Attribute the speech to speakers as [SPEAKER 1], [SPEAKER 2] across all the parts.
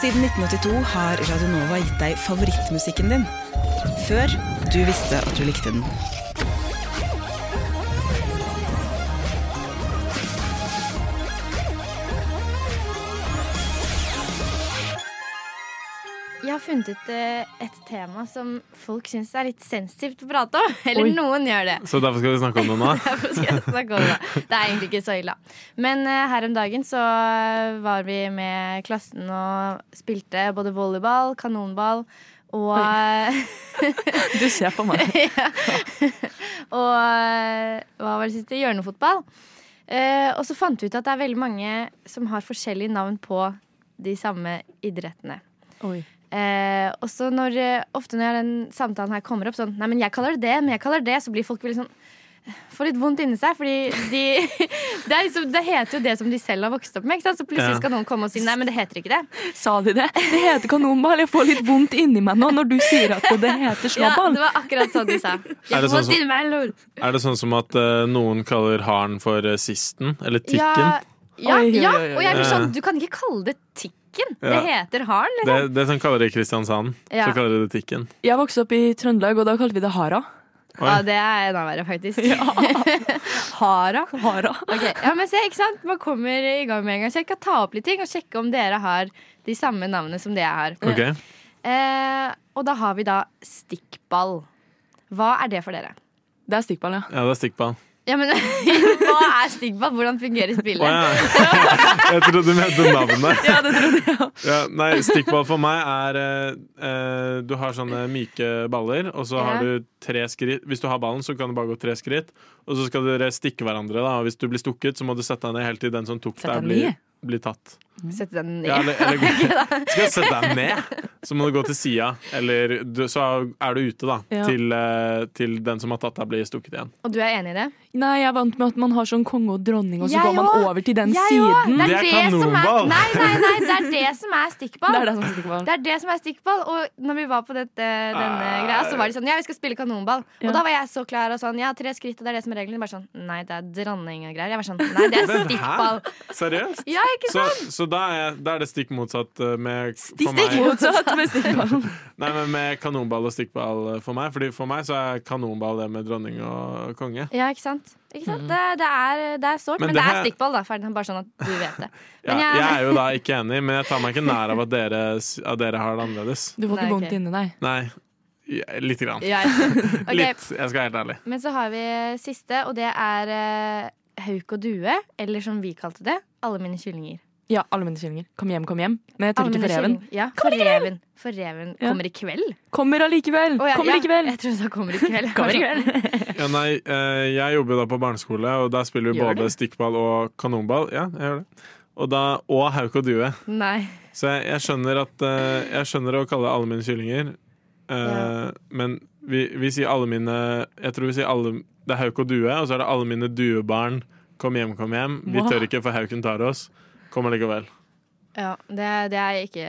[SPEAKER 1] Siden 1982 har Radionova gitt deg favorittmusikken din. Før du visste at du likte den.
[SPEAKER 2] Jeg har funnet ut eh, et tema som folk syns er litt sensitivt å prate om. Eller noen gjør det.
[SPEAKER 3] Så derfor skal vi snakke om det nå.
[SPEAKER 2] Derfor skal jeg snakke om det. Det er egentlig ikke så ille. Men eh, her om dagen så eh, var vi med klassen og spilte både volleyball, kanonball og,
[SPEAKER 4] Du ser på meg.
[SPEAKER 2] og eh, hva var det siste? Hjørnefotball. Eh, og så fant vi ut at det er veldig mange som har forskjellige navn på de samme idrettene.
[SPEAKER 4] Oi.
[SPEAKER 2] Eh, og så når, eh, ofte når den samtalen her kommer opp sånn Nei, men jeg kaller det det, men jeg kaller det det. Så blir folk veldig sånn Får litt vondt inni seg, fordi de det, er liksom, det heter jo det som de selv har vokst opp med. Ikke sant? Så plutselig
[SPEAKER 3] Ja.
[SPEAKER 2] skal noen komme og si nei, men det heter ikke det.
[SPEAKER 4] Sa de det? Det heter kanonball. Jeg får litt vondt inni meg nå når du sier at det heter
[SPEAKER 2] Ja,
[SPEAKER 4] slåball.
[SPEAKER 2] det var akkurat sånn de sa.
[SPEAKER 3] Er det
[SPEAKER 2] Jeg
[SPEAKER 3] sånn
[SPEAKER 2] får
[SPEAKER 3] som-
[SPEAKER 2] til meg, lol.
[SPEAKER 3] Er det sånn som at eh, noen kaller haren for eh, sisten? Eller tikken?
[SPEAKER 2] Ja, ja,
[SPEAKER 4] Oi, oi,
[SPEAKER 2] ja,
[SPEAKER 4] oi, oi.
[SPEAKER 2] og jeg blir sånn Du kan ikke kalle det tikken. Det
[SPEAKER 3] Ja.
[SPEAKER 2] heter haren,
[SPEAKER 3] Det,
[SPEAKER 2] liksom.
[SPEAKER 3] det er sånn kaller de i Kristiansand.
[SPEAKER 2] Ja.
[SPEAKER 3] Så kaller de det tikken.
[SPEAKER 4] Jeg vokste opp i Trøndelag, og da kalte vi det hara.
[SPEAKER 3] Oi.
[SPEAKER 2] Ja, det er enda verre, faktisk. Hara.
[SPEAKER 4] Hara.
[SPEAKER 2] Ok, ja, men se, ikke sant? Man kommer i gang med en gang. Så jeg kan ta opp litt ting og sjekke om dere har de samme navnene som det jeg har.
[SPEAKER 3] Ok.
[SPEAKER 2] Eh, og da har vi da stikkball. Hva er det for dere?
[SPEAKER 4] Det er stikkball, ja.
[SPEAKER 3] Ja, det er stikkball.
[SPEAKER 2] Ja, men Hva er stikkball? Hvordan fungerer
[SPEAKER 3] Å
[SPEAKER 2] spillet?
[SPEAKER 3] ja. Jeg trodde du mente navnet.
[SPEAKER 4] Ja, det trodde jeg også.
[SPEAKER 3] Ja, nei, stikkball for meg er eh, eh, Du har sånne myke baller, og så har
[SPEAKER 2] Ja.
[SPEAKER 3] du tre skritt Hvis du har ballen, så kan du bare gå tre skritt, og så skal dere stikke hverandre. da Og hvis du blir stukket, så må du sette deg ned helt til den som tok
[SPEAKER 4] Sett
[SPEAKER 3] deg,
[SPEAKER 4] deg
[SPEAKER 3] blir,
[SPEAKER 4] ned?
[SPEAKER 3] blir tatt.
[SPEAKER 2] Sette den ned.
[SPEAKER 3] Ja, eller, eller Skal jeg sette deg ned, så må du gå til sida, eller du, så er du ute, da.
[SPEAKER 4] Ja.
[SPEAKER 3] Til, eh, til den som har tatt deg, blir stukket igjen.
[SPEAKER 2] Og du er enig i det?
[SPEAKER 4] Nei, jeg er vant med at man har sånn konge og dronning, og så
[SPEAKER 2] Jeg
[SPEAKER 4] går man
[SPEAKER 2] også.
[SPEAKER 4] over til den
[SPEAKER 2] Jeg også.
[SPEAKER 4] siden.
[SPEAKER 2] Det
[SPEAKER 3] Det
[SPEAKER 2] er
[SPEAKER 3] er
[SPEAKER 2] det som er
[SPEAKER 3] kanonball.
[SPEAKER 2] Nei, nei, nei, det er det som er
[SPEAKER 4] Det
[SPEAKER 2] stikkball.
[SPEAKER 4] er det som er stikkball.
[SPEAKER 2] Det er det som er stikkball. Og når vi var på dette, denne
[SPEAKER 3] Ah.
[SPEAKER 2] greia, så var de sånn Ja, vi skal spille kanonball.
[SPEAKER 4] Ja.
[SPEAKER 2] Og da var jeg så klar og sånn Ja, tre skritt, og det er det som er regelen. Bare sånn Nei, det er dronning og greier. Jeg var sånn Nei, det er
[SPEAKER 3] Men hæ?
[SPEAKER 2] stikkball.
[SPEAKER 3] Seriøst?
[SPEAKER 2] Ja, ikke
[SPEAKER 3] Så, så da, er, jeg- da er det stikk motsatt eh, med, for
[SPEAKER 4] Stikk
[SPEAKER 3] meg,
[SPEAKER 4] motsatt med stikkball.
[SPEAKER 3] nei, men med kanonball og stikkball eh, for meg. Fordi for meg så er kanonball det med dronning og konge.
[SPEAKER 2] Ja, ikke sant? Ikke sant? Det, det er, det er sårt,
[SPEAKER 3] Men
[SPEAKER 2] men,
[SPEAKER 3] det
[SPEAKER 2] det er
[SPEAKER 3] her-
[SPEAKER 2] stikkball, da. Ferdig, bare sånn at du vet det.
[SPEAKER 3] Ja,
[SPEAKER 2] Men
[SPEAKER 3] jeg
[SPEAKER 2] jeg-
[SPEAKER 3] er jo da ikke enig, men jeg tar meg ikke nær av at dere, s- at dere har det annerledes.
[SPEAKER 4] Du får
[SPEAKER 2] Nei,
[SPEAKER 4] ikke vondt
[SPEAKER 2] ok.
[SPEAKER 4] inni deg.
[SPEAKER 3] Nei, ja, lite grann.
[SPEAKER 2] Ja. Ok,
[SPEAKER 3] Litt. Jeg skal være helt ærlig.
[SPEAKER 2] Men så har vi eh, siste, og det er eh, hauk og due. Eller som vi kalte det, alle mine kyllinger.
[SPEAKER 4] Ja, alle mine kyllinger. Kom hjem, kom hjem. Men jeg
[SPEAKER 2] Alle
[SPEAKER 4] tør ikke
[SPEAKER 2] mine
[SPEAKER 4] for reven.
[SPEAKER 2] kyllinger. Ja, for reven. For reven
[SPEAKER 4] Ja.
[SPEAKER 2] kommer i kveld.
[SPEAKER 4] Kommer allikevel!
[SPEAKER 2] Å, ja,
[SPEAKER 4] Kommer
[SPEAKER 2] ja,
[SPEAKER 4] likevel!
[SPEAKER 2] Jeg tror hun sa kommer i kveld.
[SPEAKER 4] Kommer i kveld.
[SPEAKER 3] Ja, nei, eh, jeg jobber jo da på barneskole, og der spiller vi
[SPEAKER 4] Gjør
[SPEAKER 3] både
[SPEAKER 4] du?
[SPEAKER 3] stikkball og kanonball. Ja, jeg gjør det. Og, da, og hauk og due.
[SPEAKER 2] Nei.
[SPEAKER 3] Så jeg, jeg skjønner at eh, Jeg skjønner å kalle det alle mine kyllinger. eh, Men vi, vi sier alle mine Jeg tror vi sier alle Det er hauk og due, og så er det alle mine duebarn. Kom hjem, kom hjem. Vi
[SPEAKER 4] Wow.
[SPEAKER 3] tør ikke, for hauken tar oss. Kommer likevel.
[SPEAKER 2] Ja, det, det er ikke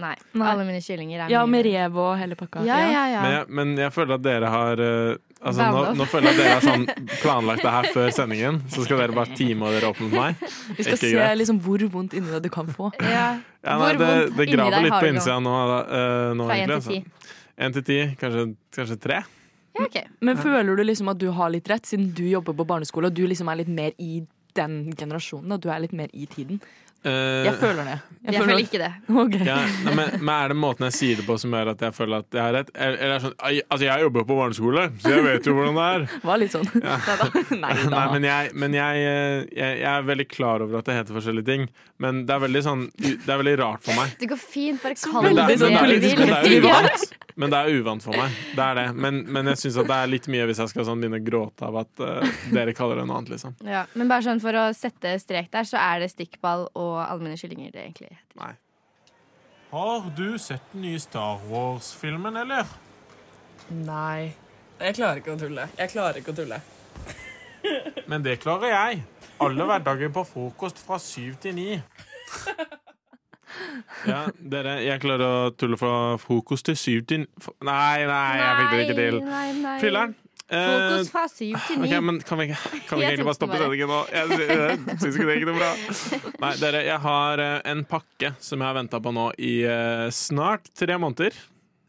[SPEAKER 2] Nei.
[SPEAKER 4] Nei.
[SPEAKER 2] Alle mine kyllinger er
[SPEAKER 4] Ja, med
[SPEAKER 2] mine.
[SPEAKER 4] rev og hele pakka.
[SPEAKER 2] Ja, ja, ja.
[SPEAKER 3] Men jeg, men jeg føler at dere har eh, Altså, nå,
[SPEAKER 2] Band up.
[SPEAKER 3] nå føler jeg at dere har sånn planlagt det her før sendingen, så skal dere bare time og dere opp mot meg.
[SPEAKER 4] Vi skal
[SPEAKER 3] Ikke
[SPEAKER 4] se
[SPEAKER 3] greit.
[SPEAKER 4] liksom hvor vondt inni deg du kan få.
[SPEAKER 2] Ja.
[SPEAKER 3] Ja,
[SPEAKER 2] Hvor
[SPEAKER 3] nei, det,
[SPEAKER 2] vondt
[SPEAKER 3] det
[SPEAKER 2] inni
[SPEAKER 3] graver
[SPEAKER 2] deg
[SPEAKER 3] litt
[SPEAKER 2] har du
[SPEAKER 3] på
[SPEAKER 2] nå?
[SPEAKER 3] innsida nå. eh, nå
[SPEAKER 2] Fra én
[SPEAKER 3] egentlig,
[SPEAKER 2] til ti.
[SPEAKER 3] altså. Én til ti, kanskje, kanskje tre.
[SPEAKER 2] Ja, ok.
[SPEAKER 4] Men føler du liksom at du har litt rett, siden du jobber på barneskole og du liksom er litt mer i den generasjonen? Og du er litt mer i tiden?
[SPEAKER 3] Eh,
[SPEAKER 4] Jeg føler det.
[SPEAKER 2] Jeg føler ikke det.
[SPEAKER 4] Ok.
[SPEAKER 3] ja, nei, men, men er det måten jeg sier det på som gjør at jeg føler at jeg har rett? Eller eller er det sånn, «Ai, altså jeg jobber på barneskole, så jeg vet jo hvordan det er.
[SPEAKER 4] Var litt sånn. Nei da.
[SPEAKER 3] Nei, men jeg, men jeg, eh, jeg, jeg er veldig klar over at det heter forskjellige ting, men det er veldig, sånn, det er veldig rart for meg.
[SPEAKER 2] Det går fint, bare
[SPEAKER 3] Men
[SPEAKER 2] kall
[SPEAKER 3] det,
[SPEAKER 2] det
[SPEAKER 3] er-
[SPEAKER 4] Veldig sånn
[SPEAKER 2] det
[SPEAKER 3] men det,
[SPEAKER 2] du
[SPEAKER 4] politisk
[SPEAKER 3] er, men
[SPEAKER 2] vil.
[SPEAKER 3] det er uvant. Men det er uvant for meg. Det er det. Men, men jeg syns det er litt mye hvis jeg skal sånn begynne å gråte av at eh, dere kaller det noe annet. liksom
[SPEAKER 2] Ja, men bare sånn for å sette strek der, så er det stikkball og allmenne kyllinger det egentlig heter.
[SPEAKER 5] Har du sett den nye Star Wars-filmen, eller?
[SPEAKER 6] Nei. Jeg klarer ikke å tulle. Jeg klarer ikke å tulle.
[SPEAKER 5] Men det klarer jeg. Alle hverdager på frokost fra syv til ni.
[SPEAKER 3] Ja, dere, jeg klarer å tulle fra frokost til syv til Nei, nei, jeg fikk det ikke til.
[SPEAKER 2] Nei, nei, nei.
[SPEAKER 3] Filler'n. Eh,
[SPEAKER 2] Frokost fra syv til ni.
[SPEAKER 3] Ok, men Kan vi, ikke- kan vi
[SPEAKER 2] Jeg
[SPEAKER 3] ikke egentlig bare
[SPEAKER 2] tok den
[SPEAKER 3] stoppe
[SPEAKER 2] bare.
[SPEAKER 3] sendingen nå? Jeg, sy- jeg syns ikke det gikk noe bra. Nei, dere, jeg har eh, en pakke som jeg har venta på nå i eh, snart tre måneder.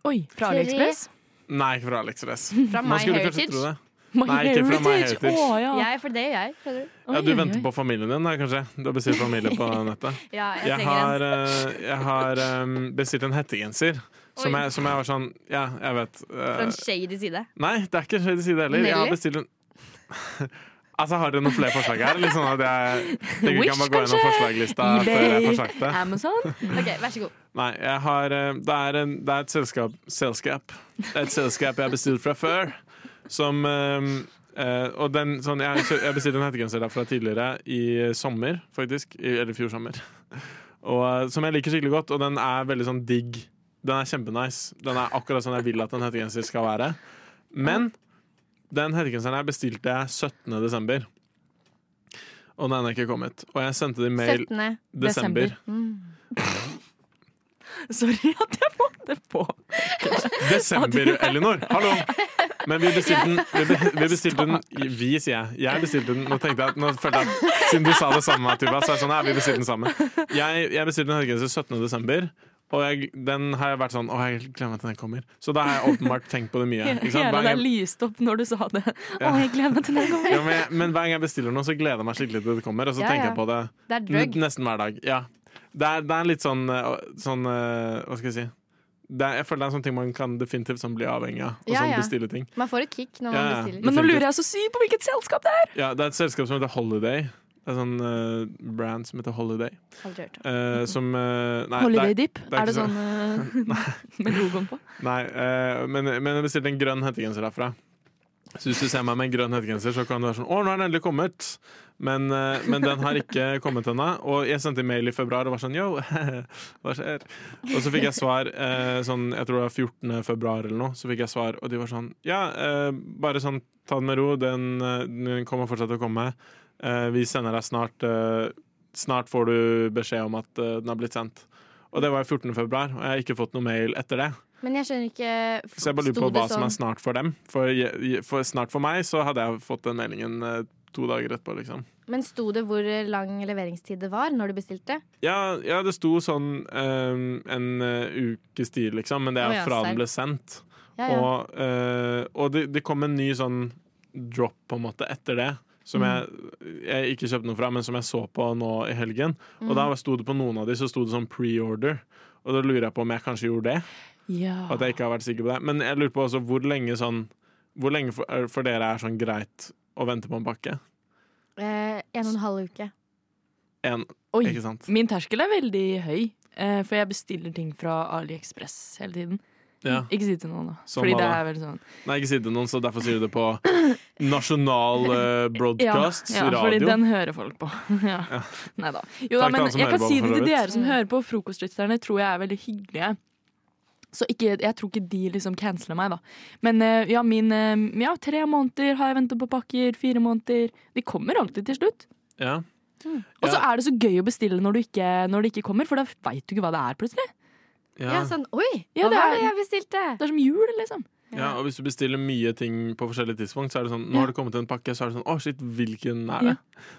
[SPEAKER 4] Oi, fra
[SPEAKER 2] Tre.
[SPEAKER 4] AliExpress?
[SPEAKER 3] Nei, ikke fra AliexRess.
[SPEAKER 2] Fra
[SPEAKER 3] Man skulle kanskje
[SPEAKER 2] MyHeritage.
[SPEAKER 3] tro det.
[SPEAKER 4] My
[SPEAKER 3] Nei, ikke fra My Heritage.
[SPEAKER 4] Å, ja.
[SPEAKER 2] Jeg, for det gjør jeg. skjønner du?
[SPEAKER 4] Oi,
[SPEAKER 3] Ja, du
[SPEAKER 4] oi,
[SPEAKER 3] venter
[SPEAKER 4] oi.
[SPEAKER 3] på familien din, da, kanskje? Du har bestilt familie på nettet.
[SPEAKER 2] Ja, jeg,
[SPEAKER 3] Jeg
[SPEAKER 2] trenger
[SPEAKER 3] har,
[SPEAKER 2] en.
[SPEAKER 3] eh, jeg har eh, bestilt en hettegenser. Som
[SPEAKER 2] Oi.
[SPEAKER 3] jeg, som jeg var sånn Ja, jeg vet.
[SPEAKER 2] Fra
[SPEAKER 3] eh,
[SPEAKER 2] en shady side.
[SPEAKER 3] nei, det er ikke en shady side heller. Jeg har
[SPEAKER 2] Nelly?
[SPEAKER 3] bestilt en Altså, Har dere noen flere forslag her? Litt sånn at jeg tenker vi
[SPEAKER 4] Wish,
[SPEAKER 3] kan bare gå gjennom
[SPEAKER 4] kanskje?
[SPEAKER 3] forslaglista før jeg
[SPEAKER 4] eBay,
[SPEAKER 3] får sagt det.
[SPEAKER 4] Amazon?
[SPEAKER 2] Ok, Vær så god.
[SPEAKER 3] Nei, jeg har eh, Det er, en, det er et selskap Selskap Det er et selskap jeg har bestilt fra før Som eh, eh, Og den sånn Jeg, kjø- jeg bestilte en hettegenser derfra tidligere I eh, sommer faktisk i, Eller fjor sommer Og eh, som jeg liker skikkelig godt Og den er veldig sånn digg Den er kjempenice Den er akkurat sånn jeg vil at en hettegenser skal være Men Den hettegenseren her bestilte jeg 17. desember Og den er ikke kommet Og jeg sendte det i mail
[SPEAKER 2] 17.
[SPEAKER 3] desember
[SPEAKER 2] Mm.
[SPEAKER 4] Sorry at jeg måtte på.
[SPEAKER 3] Desember, Elinor! Hallo! Men vi bestilte den, vi be- vi bestilte den i- Vi, sier jeg. Jeg bestilte den Nå tenkte jeg, nå følte jeg at Siden du sa det samme, Tuva, så er jeg sånn, nei, vi bestilte den sammen. Jeg, jeg bestilte en helgegenser 17. desember. Og jeg, den har jeg vært sånn Å, jeg glemmer at den kommer. Så da har jeg åpenbart tenkt på det mye. Ikke sant?
[SPEAKER 4] Hele
[SPEAKER 3] Hver
[SPEAKER 4] deg
[SPEAKER 3] gang,
[SPEAKER 4] lyste opp når du sa det. Å, jeg gleder meg til den gangen.
[SPEAKER 3] ja, men, jeg, men hver gang jeg bestiller noe, så gleder jeg meg skikkelig til det kommer. Og så
[SPEAKER 2] Ja,
[SPEAKER 3] tenker
[SPEAKER 2] ja.
[SPEAKER 3] jeg på det
[SPEAKER 2] Det er drug.
[SPEAKER 3] N- Nesten hver dag, ja. Det er, det er litt sånn, eh, sånn eh, Hva skal jeg si? Det er, jeg føler det er en sånn ting man kan definitivt sånn bli avhengig av. Og
[SPEAKER 2] Ja,
[SPEAKER 3] sånn
[SPEAKER 2] ja.
[SPEAKER 3] bestille ting.
[SPEAKER 2] Man får et kick når
[SPEAKER 3] Ja,
[SPEAKER 2] man
[SPEAKER 3] ja.
[SPEAKER 2] bestiller.
[SPEAKER 4] Men nå lurer jeg så sykt på hvilket selskap det er!
[SPEAKER 3] Ja, det er et selskap som heter Holiday. Det er sånn eh, brand som heter Holiday.
[SPEAKER 2] Aldri hørt om.
[SPEAKER 3] eh, som eh, nei,
[SPEAKER 4] Mm-hmm. Holiday
[SPEAKER 3] det er-
[SPEAKER 4] Dip.
[SPEAKER 3] er ikke
[SPEAKER 4] Er det
[SPEAKER 3] så-
[SPEAKER 4] sånn eh, med logoen på?
[SPEAKER 3] Nei, eh, men, men jeg bestilte en grønn hettegenser herfra. Så hvis du ser meg med en grønn hettegenser, så kan du være sånn Å, nå er den endelig kommet! Men, eh, men den har ikke kommet ennå. Og jeg sendte mail i februar og var sånn yo, hva skjer? Og så fikk jeg svar eh, sånn, jeg tror det var 14. februar eller noe, så fikk jeg svar, og de var sånn ja, eh, bare sånn ta det med ro, den, eh, den kommer fortsatt til å komme. Eh, vi sender deg snart eh, Snart får du beskjed om at eh, den har blitt sendt. Og det var 14. februar, og jeg har ikke fått noe mail etter det.
[SPEAKER 2] Men jeg skjønner ikke
[SPEAKER 3] Så jeg bare lurer på hva
[SPEAKER 2] sånn-
[SPEAKER 3] som er snart for dem. For, je- for snart for meg så hadde jeg fått den meldingen eh, to dager etterpå, liksom.
[SPEAKER 2] Men sto det hvor lang leveringstid det var når du bestilte?
[SPEAKER 3] Ja, ja det sto sånn eh, en eh, ukes tid, liksom, men det
[SPEAKER 2] Å
[SPEAKER 3] er
[SPEAKER 2] ja,
[SPEAKER 3] fra
[SPEAKER 2] serr.
[SPEAKER 3] den ble sendt.
[SPEAKER 2] Ja, ja.
[SPEAKER 3] Og, eh, og det, det kom en ny sånn drop, på en måte, etter det.
[SPEAKER 2] Mm.
[SPEAKER 3] Som jeg, jeg ikke kjøpte noe fra, men som jeg så på nå i helgen.
[SPEAKER 2] Mm.
[SPEAKER 3] Og da sto det på noen av de så sto det sånn pre-order. Og da lurer jeg på om jeg kanskje gjorde det.
[SPEAKER 4] Ja.
[SPEAKER 3] At jeg ikke har vært sikker på det. Men jeg lurer på også hvor lenge sånn Hvor lenge for, er- for dere er sånn greit å vente på en pakke?
[SPEAKER 2] Eh, en og en halv uke.
[SPEAKER 3] En,
[SPEAKER 4] Oi.
[SPEAKER 3] ikke sant?
[SPEAKER 4] Min terskel er veldig høy, eh, for jeg bestiller ting fra AliExpress hele tiden.
[SPEAKER 3] Ja.
[SPEAKER 4] Ikke si til noen, da.
[SPEAKER 3] Sånn
[SPEAKER 4] Fordi
[SPEAKER 3] var
[SPEAKER 4] det
[SPEAKER 3] det.
[SPEAKER 4] er veldig sånn
[SPEAKER 3] Nei, ikke si det til noen, så derfor sier du det på nasjonal eh, broadcast,
[SPEAKER 4] ja,
[SPEAKER 3] radio.
[SPEAKER 4] fordi den hører folk på. ja. Nei da. Jo da,
[SPEAKER 3] Takk til
[SPEAKER 4] men
[SPEAKER 3] alle som
[SPEAKER 4] jeg
[SPEAKER 3] hører
[SPEAKER 4] kan
[SPEAKER 3] på,
[SPEAKER 4] si
[SPEAKER 3] for
[SPEAKER 4] det
[SPEAKER 3] så
[SPEAKER 4] til
[SPEAKER 3] vidt.
[SPEAKER 4] dere som hører på. Frokostlytterne tror jeg er veldig hyggelige. Så ikke, jeg tror ikke de liksom canceler meg, da. Men eh, ja, min eh, Ja, tre måneder har jeg venta på pakker. Fire måneder. De kommer alltid til slutt.
[SPEAKER 3] Ja.
[SPEAKER 4] Og så
[SPEAKER 3] Mm. Ja.
[SPEAKER 4] er det så gøy å bestille når, du ikke, når det ikke kommer, for da veit du ikke hva det er, plutselig.
[SPEAKER 3] Ja.
[SPEAKER 2] Ja, sånn Oi,
[SPEAKER 4] Ja,
[SPEAKER 2] hva
[SPEAKER 4] det
[SPEAKER 2] var
[SPEAKER 4] er-
[SPEAKER 2] det jeg bestilte?
[SPEAKER 4] Det er som jul, liksom.
[SPEAKER 3] ja, Og hvis du bestiller mye ting på forskjellige tidspunkt, så er det sånn Nå har det kommet en pakke, så er det sånn Å, shit, hvilken er det?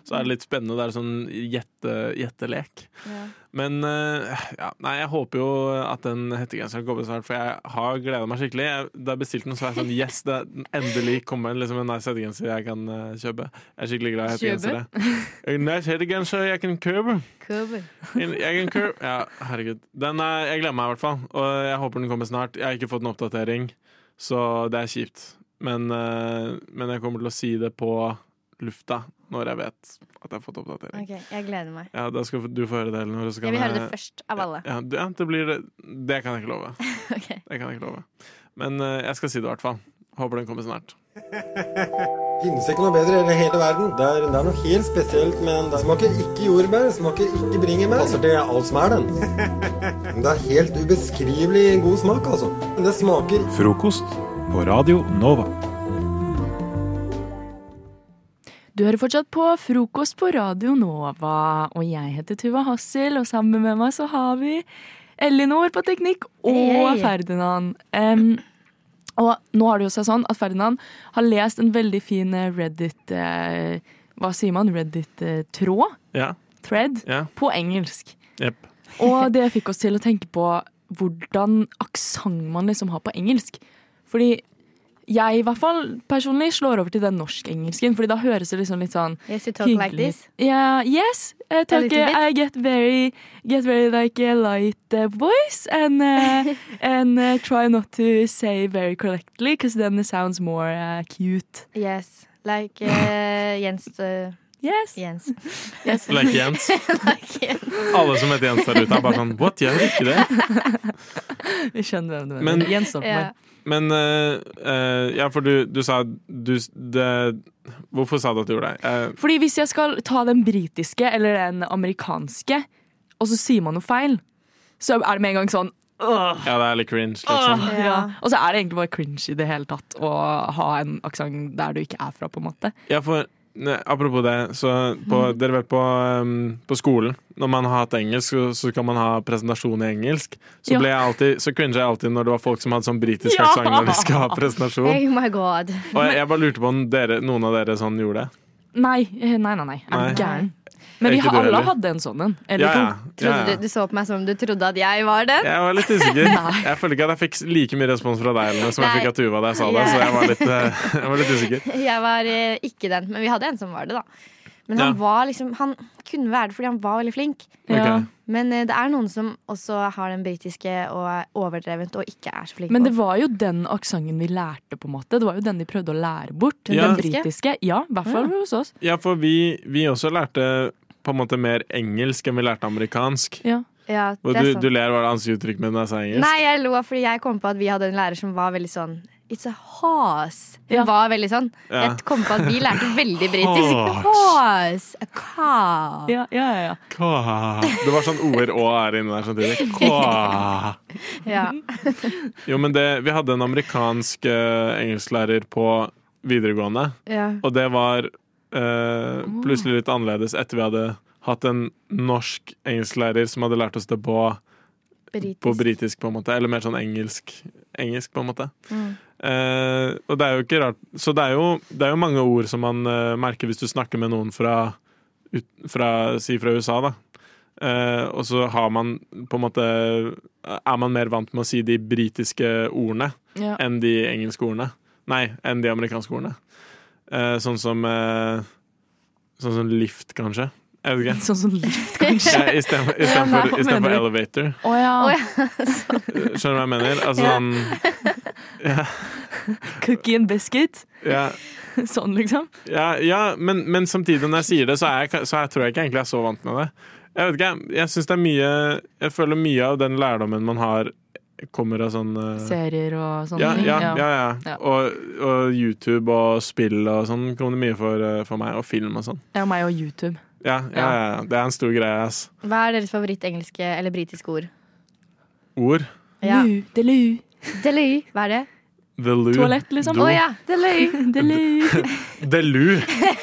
[SPEAKER 3] Så er det litt spennende. Det er sånn gjette, gjettelek.
[SPEAKER 2] Ja.
[SPEAKER 3] Men eh, ja, nei, jeg håper jo at den hettegenseren kommer snart, for jeg har gleda meg skikkelig. Jeg, da jeg bestilte den, så var jeg sånn Yes, det er endelig kommer liksom en nice hettegenser jeg kan eh, kjøpe. Jeg er skikkelig glad i
[SPEAKER 4] Kjøpe?
[SPEAKER 3] hettegensere. A Nice hettegenser jeg kan kjøpe.
[SPEAKER 2] Cool.
[SPEAKER 3] En- Jeg kan kjøpe. Ja, herregud. Den er, jeg gleder meg i hvert fall, og jeg håper den kommer snart. Jeg har ikke fått en oppdatering, så det er kjipt. Men, eh, men jeg kommer til å si det på lufta når jeg vet at jeg har fått oppdatering.
[SPEAKER 2] Ok, jeg gleder meg.
[SPEAKER 3] Ja, Da skal du få høre det, Elinor. og så kan
[SPEAKER 2] Jeg vil høre det
[SPEAKER 3] jeg-
[SPEAKER 2] først av alle.
[SPEAKER 3] ja, det, ja, det blir det. Det kan jeg ikke love.
[SPEAKER 2] Ok.
[SPEAKER 3] Det kan jeg ikke love. Men eh, jeg skal si det i hvert fall. Håper den kommer snart.
[SPEAKER 7] Finnes ikke noe bedre i hele verden. Det er, det er noe helt spesielt med den. Det smaker ikke jordbær, smaker ikke bringebær. Passer til alt som er den. Men det er helt ubeskrivelig god smak, altså. Men det smaker
[SPEAKER 8] Frokost på Radio Nova.
[SPEAKER 4] Du hører fortsatt på Frokost på Radio Nova, og jeg heter Tuva Hassel, og sammen med meg så har vi Elinor på teknikk og
[SPEAKER 2] Hei, hei.
[SPEAKER 4] Ferdinand. Em, Og nå har det jo seg sånn at Ferdinand har lest en veldig fin eh, Reddit eh, Hva sier man? Reddit-tråd?
[SPEAKER 3] Ja.
[SPEAKER 4] Thread?
[SPEAKER 3] ja.
[SPEAKER 4] På engelsk.
[SPEAKER 3] Jepp.
[SPEAKER 4] Og det fikk oss til å tenke på hvordan aksent man liksom har på engelsk. Fordi jeg i hvert fall personlig slår over til den norsk-engelsken, Fordi da høres det liksom litt sånn
[SPEAKER 2] Yes, you talk like
[SPEAKER 4] Hyggelig.
[SPEAKER 2] this.
[SPEAKER 4] Yeah, yes, uh, talk,
[SPEAKER 2] little bit.
[SPEAKER 4] I get very, get very like a light uh, voice and uh, and uh, try not to say very correctly because then it sounds more uh, cute.
[SPEAKER 2] Yes. Like eh, Jens. eh,
[SPEAKER 4] Yes.
[SPEAKER 2] Jens.
[SPEAKER 3] Like Jens.
[SPEAKER 2] like Jens.
[SPEAKER 3] Alle som heter Jens der ute, er bare sånn What, gjør ikke det?
[SPEAKER 4] Vi skjønner hvem du mener.
[SPEAKER 3] Men-
[SPEAKER 4] Jens Stoltenberg.
[SPEAKER 2] Ja.
[SPEAKER 3] Men eh, eh, Ja, for du, du sa du, s- det, Hvorfor sa du at du gjorde det? Eh,
[SPEAKER 4] Fordi hvis jeg skal ta den britiske eller den amerikanske, og så sier man noe feil, så er det med en gang sånn «Åh,
[SPEAKER 3] ja, det er litt cringe, liksom.
[SPEAKER 4] åh», ja. Og så er det egentlig bare cringe i det hele tatt å ha en aksent der du ikke er fra, på en måte.
[SPEAKER 3] Ja, for ne, Apropos det, så på,
[SPEAKER 4] Mm.
[SPEAKER 3] dere vet på, ehm, på skolen Når man har hatt engelsk, så, så kan man ha presentasjon i engelsk. Så,
[SPEAKER 4] Ja.
[SPEAKER 3] ble jeg alltid, så cringet jeg alltid når det var folk som hadde sånn britisk
[SPEAKER 4] Ja.
[SPEAKER 3] aksent når de skal ha presentasjon.
[SPEAKER 2] Oh my god.
[SPEAKER 3] Og jeg, jeg bare lurte på om dere, noen av dere sånn gjorde det.
[SPEAKER 4] Nei, eh, nei, nei. nei. Er
[SPEAKER 3] Nei.
[SPEAKER 4] du gæren? Men vi
[SPEAKER 3] Ikke
[SPEAKER 4] har,
[SPEAKER 3] du
[SPEAKER 4] alle
[SPEAKER 3] heller.
[SPEAKER 4] hadde en sånn en. Eller
[SPEAKER 3] Ja, ja, ja,
[SPEAKER 2] Trodde
[SPEAKER 3] ja.
[SPEAKER 2] Du, du så på meg som om du trodde at jeg var den.
[SPEAKER 3] Jeg var litt usikker. Jeg følte ikke at jeg fikk like mye respons fra deg Elene, som jeg
[SPEAKER 2] Nei.
[SPEAKER 3] fikk av Tuva da jeg sa det.
[SPEAKER 2] Ja.
[SPEAKER 3] Så jeg var litt, eh, jeg var litt usikker.
[SPEAKER 2] Jeg var eh, ikke den, men vi hadde en som var det, da. Men
[SPEAKER 3] Ja.
[SPEAKER 2] han var liksom Han kunne være det fordi han var veldig flink.
[SPEAKER 4] to. Ja.
[SPEAKER 3] Ok.
[SPEAKER 2] Men eh, det er noen som også har den britiske og er overdrevent og ikke er så flink.
[SPEAKER 4] Men
[SPEAKER 2] på
[SPEAKER 4] det var jo den aksenten vi lærte, på en måte. Det var jo den de prøvde å lære bort.
[SPEAKER 3] Ja.
[SPEAKER 4] Den britiske. Ja, i hvert fall hos oss.
[SPEAKER 3] Ja, for vi, vi også lærte på en måte mer engelsk enn vi lærte amerikansk.
[SPEAKER 4] Ja.
[SPEAKER 2] ja,
[SPEAKER 3] Og
[SPEAKER 2] det er
[SPEAKER 3] du,
[SPEAKER 2] sant.
[SPEAKER 3] du ler hva det ansiktsuttrykket mitt når jeg sa engelsk.
[SPEAKER 2] Nei, jeg lo fordi jeg kom på at vi hadde en lærer som var veldig sånn It's a horse. Hun
[SPEAKER 4] Ja.
[SPEAKER 2] var veldig sånn.
[SPEAKER 3] Ja.
[SPEAKER 2] Jeg kom på at vi lærte veldig britisk.
[SPEAKER 3] Horse.
[SPEAKER 2] Horse. A cow.
[SPEAKER 4] Ja, ja, ja.
[SPEAKER 3] Kva. Det var sånn o-er og er inni der samtidig. Kva.
[SPEAKER 2] Ja.
[SPEAKER 4] Mhm.
[SPEAKER 3] Jo, men det, vi hadde en amerikansk eh, engelsklærer på videregående,
[SPEAKER 2] Ja.
[SPEAKER 3] og det var eh, plutselig litt annerledes etter vi hadde hatt en norsk engelsklærer som hadde lært oss det på, på
[SPEAKER 2] Britisk.
[SPEAKER 3] britisk, på en måte. Eller mer sånn engelsk, engelsk på en måte.
[SPEAKER 4] Mm.
[SPEAKER 3] Eh, og det er jo ikke rart Så det er jo, det er jo mange ord som man eh, merker hvis du snakker med noen fra, ut, fra Si fra USA, da. Eh, og så har man på en måte Er man mer vant med å si de britiske ordene
[SPEAKER 4] ja.
[SPEAKER 3] enn de engelske ordene. Nei, enn de amerikanske ordene. Eh, sånn som eh, Sånn som lift, kanskje. Jeg vet ikke.
[SPEAKER 4] Sånn som lift, kanskje.
[SPEAKER 3] Ja, Istedenfor
[SPEAKER 4] hva
[SPEAKER 3] istedenfor-
[SPEAKER 4] mener
[SPEAKER 3] istedenfor
[SPEAKER 4] du?
[SPEAKER 3] elevator.
[SPEAKER 4] Å ja.
[SPEAKER 2] Å, ja.
[SPEAKER 3] Skjønner du hva jeg mener? Altså sånn
[SPEAKER 4] Cookie and biscuit.
[SPEAKER 3] ja,
[SPEAKER 4] Sånn, liksom.
[SPEAKER 3] Ja, ja men, men samtidig når jeg sier det, så, er jeg, så jeg tror jeg ikke egentlig jeg er så vant med det. Jeg vet ikke, jeg, jeg synes det er mye Jeg føler mye av den lærdommen man har, kommer av sånn eh,
[SPEAKER 4] Serier og sånne
[SPEAKER 3] ja,
[SPEAKER 4] ting.
[SPEAKER 3] ja, ja, ja.
[SPEAKER 4] Ja.
[SPEAKER 3] Og, og YouTube og spill og sånn kom det mye for, eh, for meg. Og film og sånn.
[SPEAKER 4] Ja, meg og YouTube.
[SPEAKER 3] Ja, ja, ja, ja. Det er en stor greie, ass.
[SPEAKER 2] Hva er deres favorittengelske eller britiske ord?
[SPEAKER 3] Ord.
[SPEAKER 2] Ja.
[SPEAKER 4] Lu, de lu.
[SPEAKER 2] Delay. Hva er det?
[SPEAKER 3] The loo.
[SPEAKER 4] Toalett, liksom.
[SPEAKER 2] Å ja. Delay.
[SPEAKER 4] De lu.
[SPEAKER 3] The loo.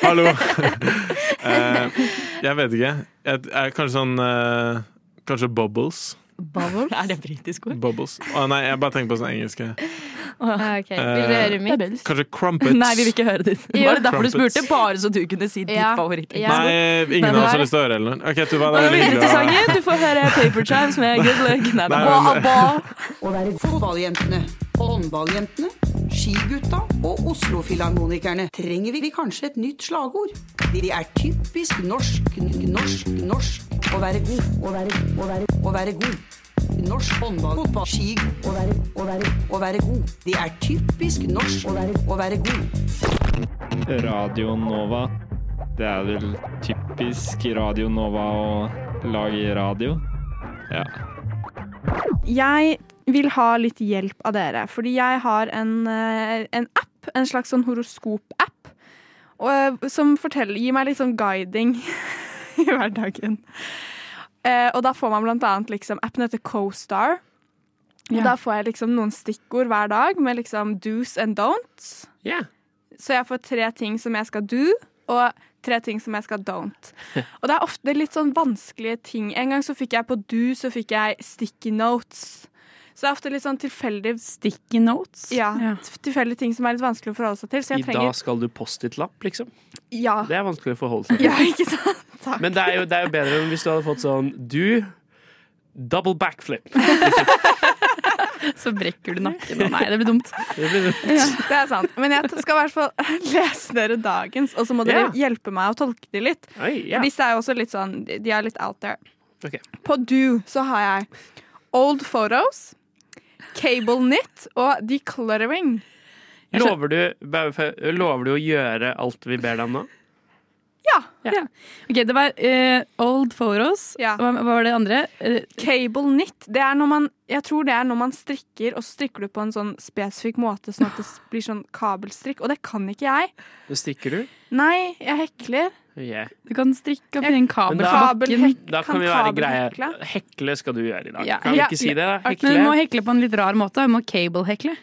[SPEAKER 3] Hallo. Eh, jeg vet ikke. Jeg, jeg, kanskje sånn eh, Kanskje bubbles.
[SPEAKER 2] Bubble.
[SPEAKER 4] Er det britisk ord?
[SPEAKER 3] Bubbles. Å nei, jeg bare tenker på sånne engelske.
[SPEAKER 2] Ah, ok. Vil dere
[SPEAKER 3] Eh,
[SPEAKER 2] høre
[SPEAKER 4] Det er
[SPEAKER 2] mitt?
[SPEAKER 4] belgisk.
[SPEAKER 3] Kanskje crumpets?
[SPEAKER 4] Nei, vi vil ikke høre ditt.
[SPEAKER 2] Jo.
[SPEAKER 4] Var det derfor du
[SPEAKER 3] Crumpets.
[SPEAKER 4] spurte? Bare så du kunne si ditt
[SPEAKER 2] Ja.
[SPEAKER 4] favoritt.
[SPEAKER 2] Ja.
[SPEAKER 3] Nei, ingen av oss har lyst til å høre Ellen. Ok, Tuva, det
[SPEAKER 4] Og
[SPEAKER 3] er
[SPEAKER 4] videre
[SPEAKER 3] veldig hyggelig
[SPEAKER 4] til
[SPEAKER 3] å
[SPEAKER 4] sangen. Du får høre Paper Chimes med Good Luck. Nei, da.
[SPEAKER 3] Nei, men-
[SPEAKER 9] Å være fotballjentene, håndballjentene, skigutta og Oslo-filharmonikerne trenger vi kanskje et nytt slagord. De er typisk norsk, n- norsk, norsk. Å være god, å være, å være, å være god. Norsk håndball, fotball, ski, å være, å være, å være god. De er typisk norsk, å være, å være god.
[SPEAKER 10] Radio Nova. Det er vel typisk Radio Nova å lage radio. Ja.
[SPEAKER 11] Jeg vil ha litt hjelp av dere, fordi jeg har en, eh, en app, en slags sånn horoskop-app, og, eh, som forteller, gir meg litt sånn guiding i hverdagen. Eh, og da får man blant annet liksom, appen heter CoStar, og
[SPEAKER 4] Ja.
[SPEAKER 11] da får jeg liksom noen stikkord hver dag med liksom do's and don'ts.
[SPEAKER 3] Ja.
[SPEAKER 11] Så jeg får tre ting som jeg skal do, og tre ting som jeg skal don't. Og det er ofte litt sånn vanskelige ting. En gang så fikk jeg på do, så fikk jeg sticky notes. Så det er ofte litt sånn tilfeldig
[SPEAKER 12] Sticky notes.
[SPEAKER 11] ja, tilfeldige ting som er litt vanskelig å forholde seg til. Så
[SPEAKER 13] I
[SPEAKER 11] jeg
[SPEAKER 13] dag
[SPEAKER 11] trenger
[SPEAKER 13] skal du post-it-lapp, liksom.
[SPEAKER 11] Ja.
[SPEAKER 13] Det er vanskelig å forholde seg til.
[SPEAKER 11] ja, ikke sant? Takk.
[SPEAKER 13] Men det er, jo, det er jo bedre enn hvis du hadde fått sånn Du, double backflip.
[SPEAKER 12] Så brekker du nakken. og Nei, det blir dumt.
[SPEAKER 13] Det blir
[SPEAKER 11] Ja, det er sant. Men jeg skal i hvert fall lese dere dagens, og så må dere hjelpe meg å tolke de litt.
[SPEAKER 13] Oi, ja.
[SPEAKER 11] For disse er jo også litt sånn De er litt out there.
[SPEAKER 13] Ok.
[SPEAKER 11] På do så har jeg old photos, cable knit og decluttering.
[SPEAKER 13] Lover du, lover du å gjøre alt vi ber deg om nå?
[SPEAKER 11] Ja.
[SPEAKER 12] Ok, det var eh, old photos. Hva, hva var det andre? Eh,
[SPEAKER 11] Cable knit, det er når man Jeg tror det er når man strikker, og så strikker du på en sånn spesifikk måte, sånn at det blir sånn kabelstrikk. Og det kan ikke jeg.
[SPEAKER 13] Det strikker du?
[SPEAKER 11] Nei, jeg hekler.
[SPEAKER 13] Yeah.
[SPEAKER 12] Du kan strikke opp i en kabel.
[SPEAKER 13] Men da,
[SPEAKER 12] Kabelhekk-
[SPEAKER 13] da kan vi være greie. Hekle skal du gjøre i dag.
[SPEAKER 12] Ja.
[SPEAKER 13] Kan vi
[SPEAKER 12] Ja.
[SPEAKER 13] ikke si det? da?
[SPEAKER 12] Men du må
[SPEAKER 13] Hekle.
[SPEAKER 12] hekle på en litt rar måte. Du må cable-hekle.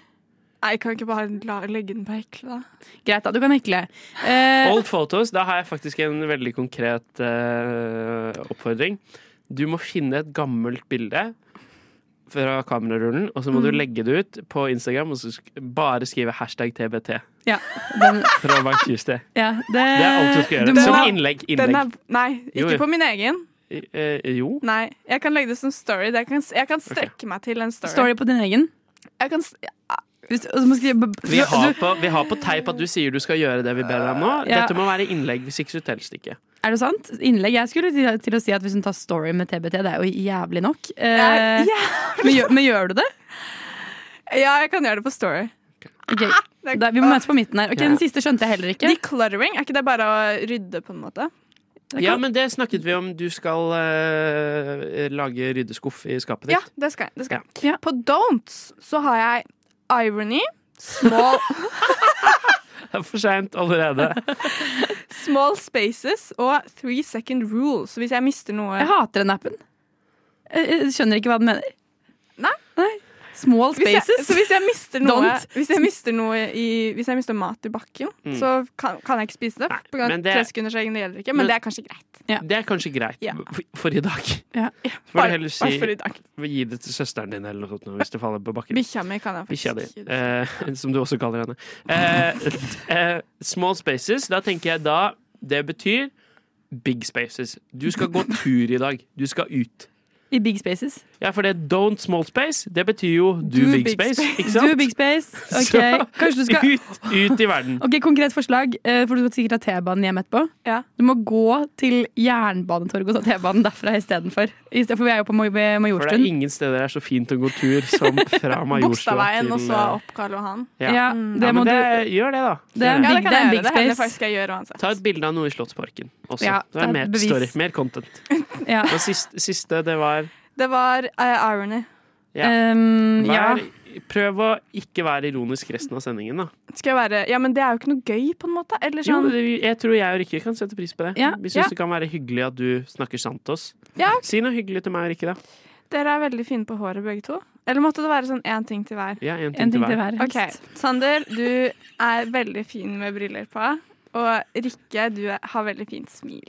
[SPEAKER 11] Nei, kan vi ikke bare la, legge den på hekle, da?
[SPEAKER 12] Greit, da. Du kan hekle. Eh,
[SPEAKER 13] Old photos, da har jeg faktisk en veldig konkret eh, oppfordring. Du må finne et gammelt bilde fra kamerarullen, og så må
[SPEAKER 12] Mm.
[SPEAKER 13] du legge det ut på Instagram og så sk bare skrive hashtag TBT.
[SPEAKER 12] ja, den,
[SPEAKER 13] Throwback Tuesday.
[SPEAKER 12] ja, det,
[SPEAKER 13] Det er alt du skal gjøre.
[SPEAKER 12] Du må-
[SPEAKER 13] Som innlegg.
[SPEAKER 11] Den
[SPEAKER 13] innlegg.
[SPEAKER 11] er, nei,
[SPEAKER 13] Jo,
[SPEAKER 11] ikke
[SPEAKER 13] jo.
[SPEAKER 11] på min egen.
[SPEAKER 13] Eh, jo.
[SPEAKER 11] Nei, jeg kan legge det som story. Det kan, jeg kan strekke meg til en story.
[SPEAKER 12] Story på din egen?
[SPEAKER 11] Jeg kan, s- ja,
[SPEAKER 12] Hvis, og så må du skrive
[SPEAKER 13] Vi har, på, vi har på teip at du sier du skal gjøre det vi ber deg om nå.
[SPEAKER 12] Ja.
[SPEAKER 13] Dette må være innlegg, hvis ikke så teller det ikke.
[SPEAKER 12] Er det sant? Innlegg. Jeg skulle til, til å si at hvis hun tar story med TBT, det er jo jævlig nok. Eh,
[SPEAKER 11] Ja,
[SPEAKER 12] men, gjør, men gjør du det?
[SPEAKER 11] ja, jeg kan gjøre det på story. Ah,
[SPEAKER 12] Ok, Da, vi må møtes på midten her. Ok, Den siste skjønte jeg heller ikke.
[SPEAKER 11] Decluttering, er ikke det bare å rydde, på en måte?
[SPEAKER 13] Ja, men det snakket vi om. Du skal eh, lage ryddeskuff i skapet ditt.
[SPEAKER 11] Ja, det skal jeg. Det skal. jeg. På don'ts så har jeg irony, small,
[SPEAKER 13] Det er for seint allerede.
[SPEAKER 11] small spaces og three second rule. Så hvis jeg mister noe
[SPEAKER 12] Jeg hater den appen. Jeg, jeg Eh, skjønner ikke hva den mener. Nei. Small
[SPEAKER 11] Hvis jeg,
[SPEAKER 12] spaces.
[SPEAKER 11] så hvis jeg mister noe,
[SPEAKER 12] Don't.
[SPEAKER 11] hvis jeg mister, noe i, hvis jeg mister mat i bakken,
[SPEAKER 13] Mm.
[SPEAKER 11] så kan, kan jeg ikke spise det. På grunn
[SPEAKER 13] men
[SPEAKER 11] av
[SPEAKER 13] det-
[SPEAKER 11] tresekundersregelen, det gjelder ikke, men,
[SPEAKER 13] Men-
[SPEAKER 11] det er kanskje greit.
[SPEAKER 13] Det er kanskje greit
[SPEAKER 11] Ja.
[SPEAKER 13] for, for i dag. Så
[SPEAKER 11] Ja.
[SPEAKER 13] må
[SPEAKER 11] Bare-
[SPEAKER 13] du heller si
[SPEAKER 11] bare for i dag.
[SPEAKER 13] Gi det til søsteren din eller noe sånt nå, hvis det faller på bakken.
[SPEAKER 11] Bikkja mi kan jeg
[SPEAKER 13] Bikkja di,
[SPEAKER 11] faktisk ikke.
[SPEAKER 13] eh, som du også kaller henne. Eh, eh, small spaces, da tenker jeg da Det betyr big spaces. Du skal gå tur i dag. Du skal ut.
[SPEAKER 12] I big spaces.
[SPEAKER 13] Ja, for det don't small space, det betyr jo do, big, space. Ikke sant?
[SPEAKER 12] Do big space. Ok,
[SPEAKER 13] Så,
[SPEAKER 12] kanskje du skal
[SPEAKER 13] ut, ut i verden.
[SPEAKER 12] Ok, Konkret forslag, eh, for du skal sikkert ha T-banen hjem etterpå. Du må gå til Jernbanetorget og ta T-banen derfra istedenfor. I stedet for vi er jo på Maj- ved
[SPEAKER 13] For det er
[SPEAKER 12] Majorstuen.
[SPEAKER 13] ingen steder det er så fint å gå tur som fra Majorstua
[SPEAKER 11] Bogstadveien og
[SPEAKER 13] til
[SPEAKER 11] så
[SPEAKER 13] eh,
[SPEAKER 11] opp Karl Johan.
[SPEAKER 13] Ja. Ja,
[SPEAKER 11] Mm.
[SPEAKER 13] det Ja, må men det- du- gjør det, da.
[SPEAKER 11] Det er en
[SPEAKER 13] Ja, det kan
[SPEAKER 11] big, det
[SPEAKER 13] jeg
[SPEAKER 11] er en
[SPEAKER 13] gjøre.
[SPEAKER 11] big
[SPEAKER 13] Det
[SPEAKER 11] space.
[SPEAKER 13] hender
[SPEAKER 11] Det faktisk jeg gjør uansett.
[SPEAKER 13] Ta et bilde av noe i Slottsparken også.
[SPEAKER 11] Ja,
[SPEAKER 13] det er mer,
[SPEAKER 11] bevis.
[SPEAKER 13] story, mer content.
[SPEAKER 12] Ja.
[SPEAKER 13] Og siste, siste, det var
[SPEAKER 11] Det var eh, irony. Ehm,
[SPEAKER 13] ja.
[SPEAKER 11] Mm,
[SPEAKER 12] Um,
[SPEAKER 13] Vær, Prøv å ikke være ironisk resten av sendingen, da.
[SPEAKER 11] Skal jeg være Ja, men det er jo ikke noe gøy, på en måte. Eller
[SPEAKER 13] Jo,
[SPEAKER 11] sånn
[SPEAKER 13] det- jeg tror jeg og Rikke kan sette pris på det.
[SPEAKER 11] Ja,
[SPEAKER 13] Vi syns
[SPEAKER 11] ja.
[SPEAKER 13] det kan være hyggelig at du snakker sant til oss.
[SPEAKER 11] Ja.
[SPEAKER 13] Si noe hyggelig til meg og Rikke, da.
[SPEAKER 11] Dere er veldig fine på håret, begge to. Eller måtte det være sånn én ting til hver?
[SPEAKER 13] Ja, en ting En til ting hver. til hver,
[SPEAKER 11] Ok, Sander, du er veldig fin med briller på. Og Rikke, du er- har veldig fint smil.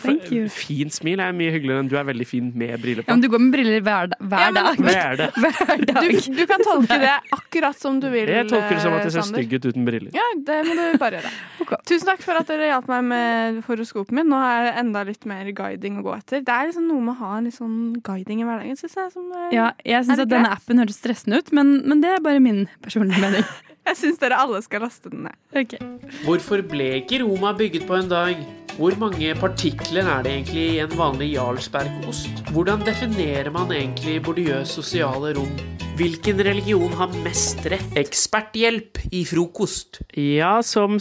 [SPEAKER 12] thank you.
[SPEAKER 13] Fint smil er mye hyggeligere enn du er veldig fin med briller
[SPEAKER 12] Ja,
[SPEAKER 13] på.
[SPEAKER 12] men du går med briller hver, da- hver
[SPEAKER 11] Ja, men-
[SPEAKER 12] dag.
[SPEAKER 13] Hva er det?
[SPEAKER 11] Du, du kan tolke det akkurat som du vil. eh,
[SPEAKER 13] Jeg tolker det som at jeg ser
[SPEAKER 11] Sander.
[SPEAKER 13] stygg ut uten briller.
[SPEAKER 11] Ja, det må du bare gjøre. Tusen takk for at dere hjalp meg med horoskopet mitt. Nå er det enda litt mer guiding å gå etter. Det er liksom noe med å ha en litt sånn guiding i hverdagen, syns jeg. Som, eh,
[SPEAKER 12] Ja, jeg syns
[SPEAKER 11] er
[SPEAKER 12] at
[SPEAKER 11] litt
[SPEAKER 12] denne
[SPEAKER 11] greit.
[SPEAKER 12] appen høres stressende ut, men, men det er bare min personlige mening.
[SPEAKER 11] Jeg syns dere alle skal laste den ned.
[SPEAKER 13] Hvorfor ble ikke Roma bygget på en dag? Hvor mange partikler er det egentlig i en vanlig Jarlsbergost? Hvordan definerer man egentlig bordiøs sosiale rom? Hvilken religion har mest rett? Eksperthjelp i frokost. Ja, som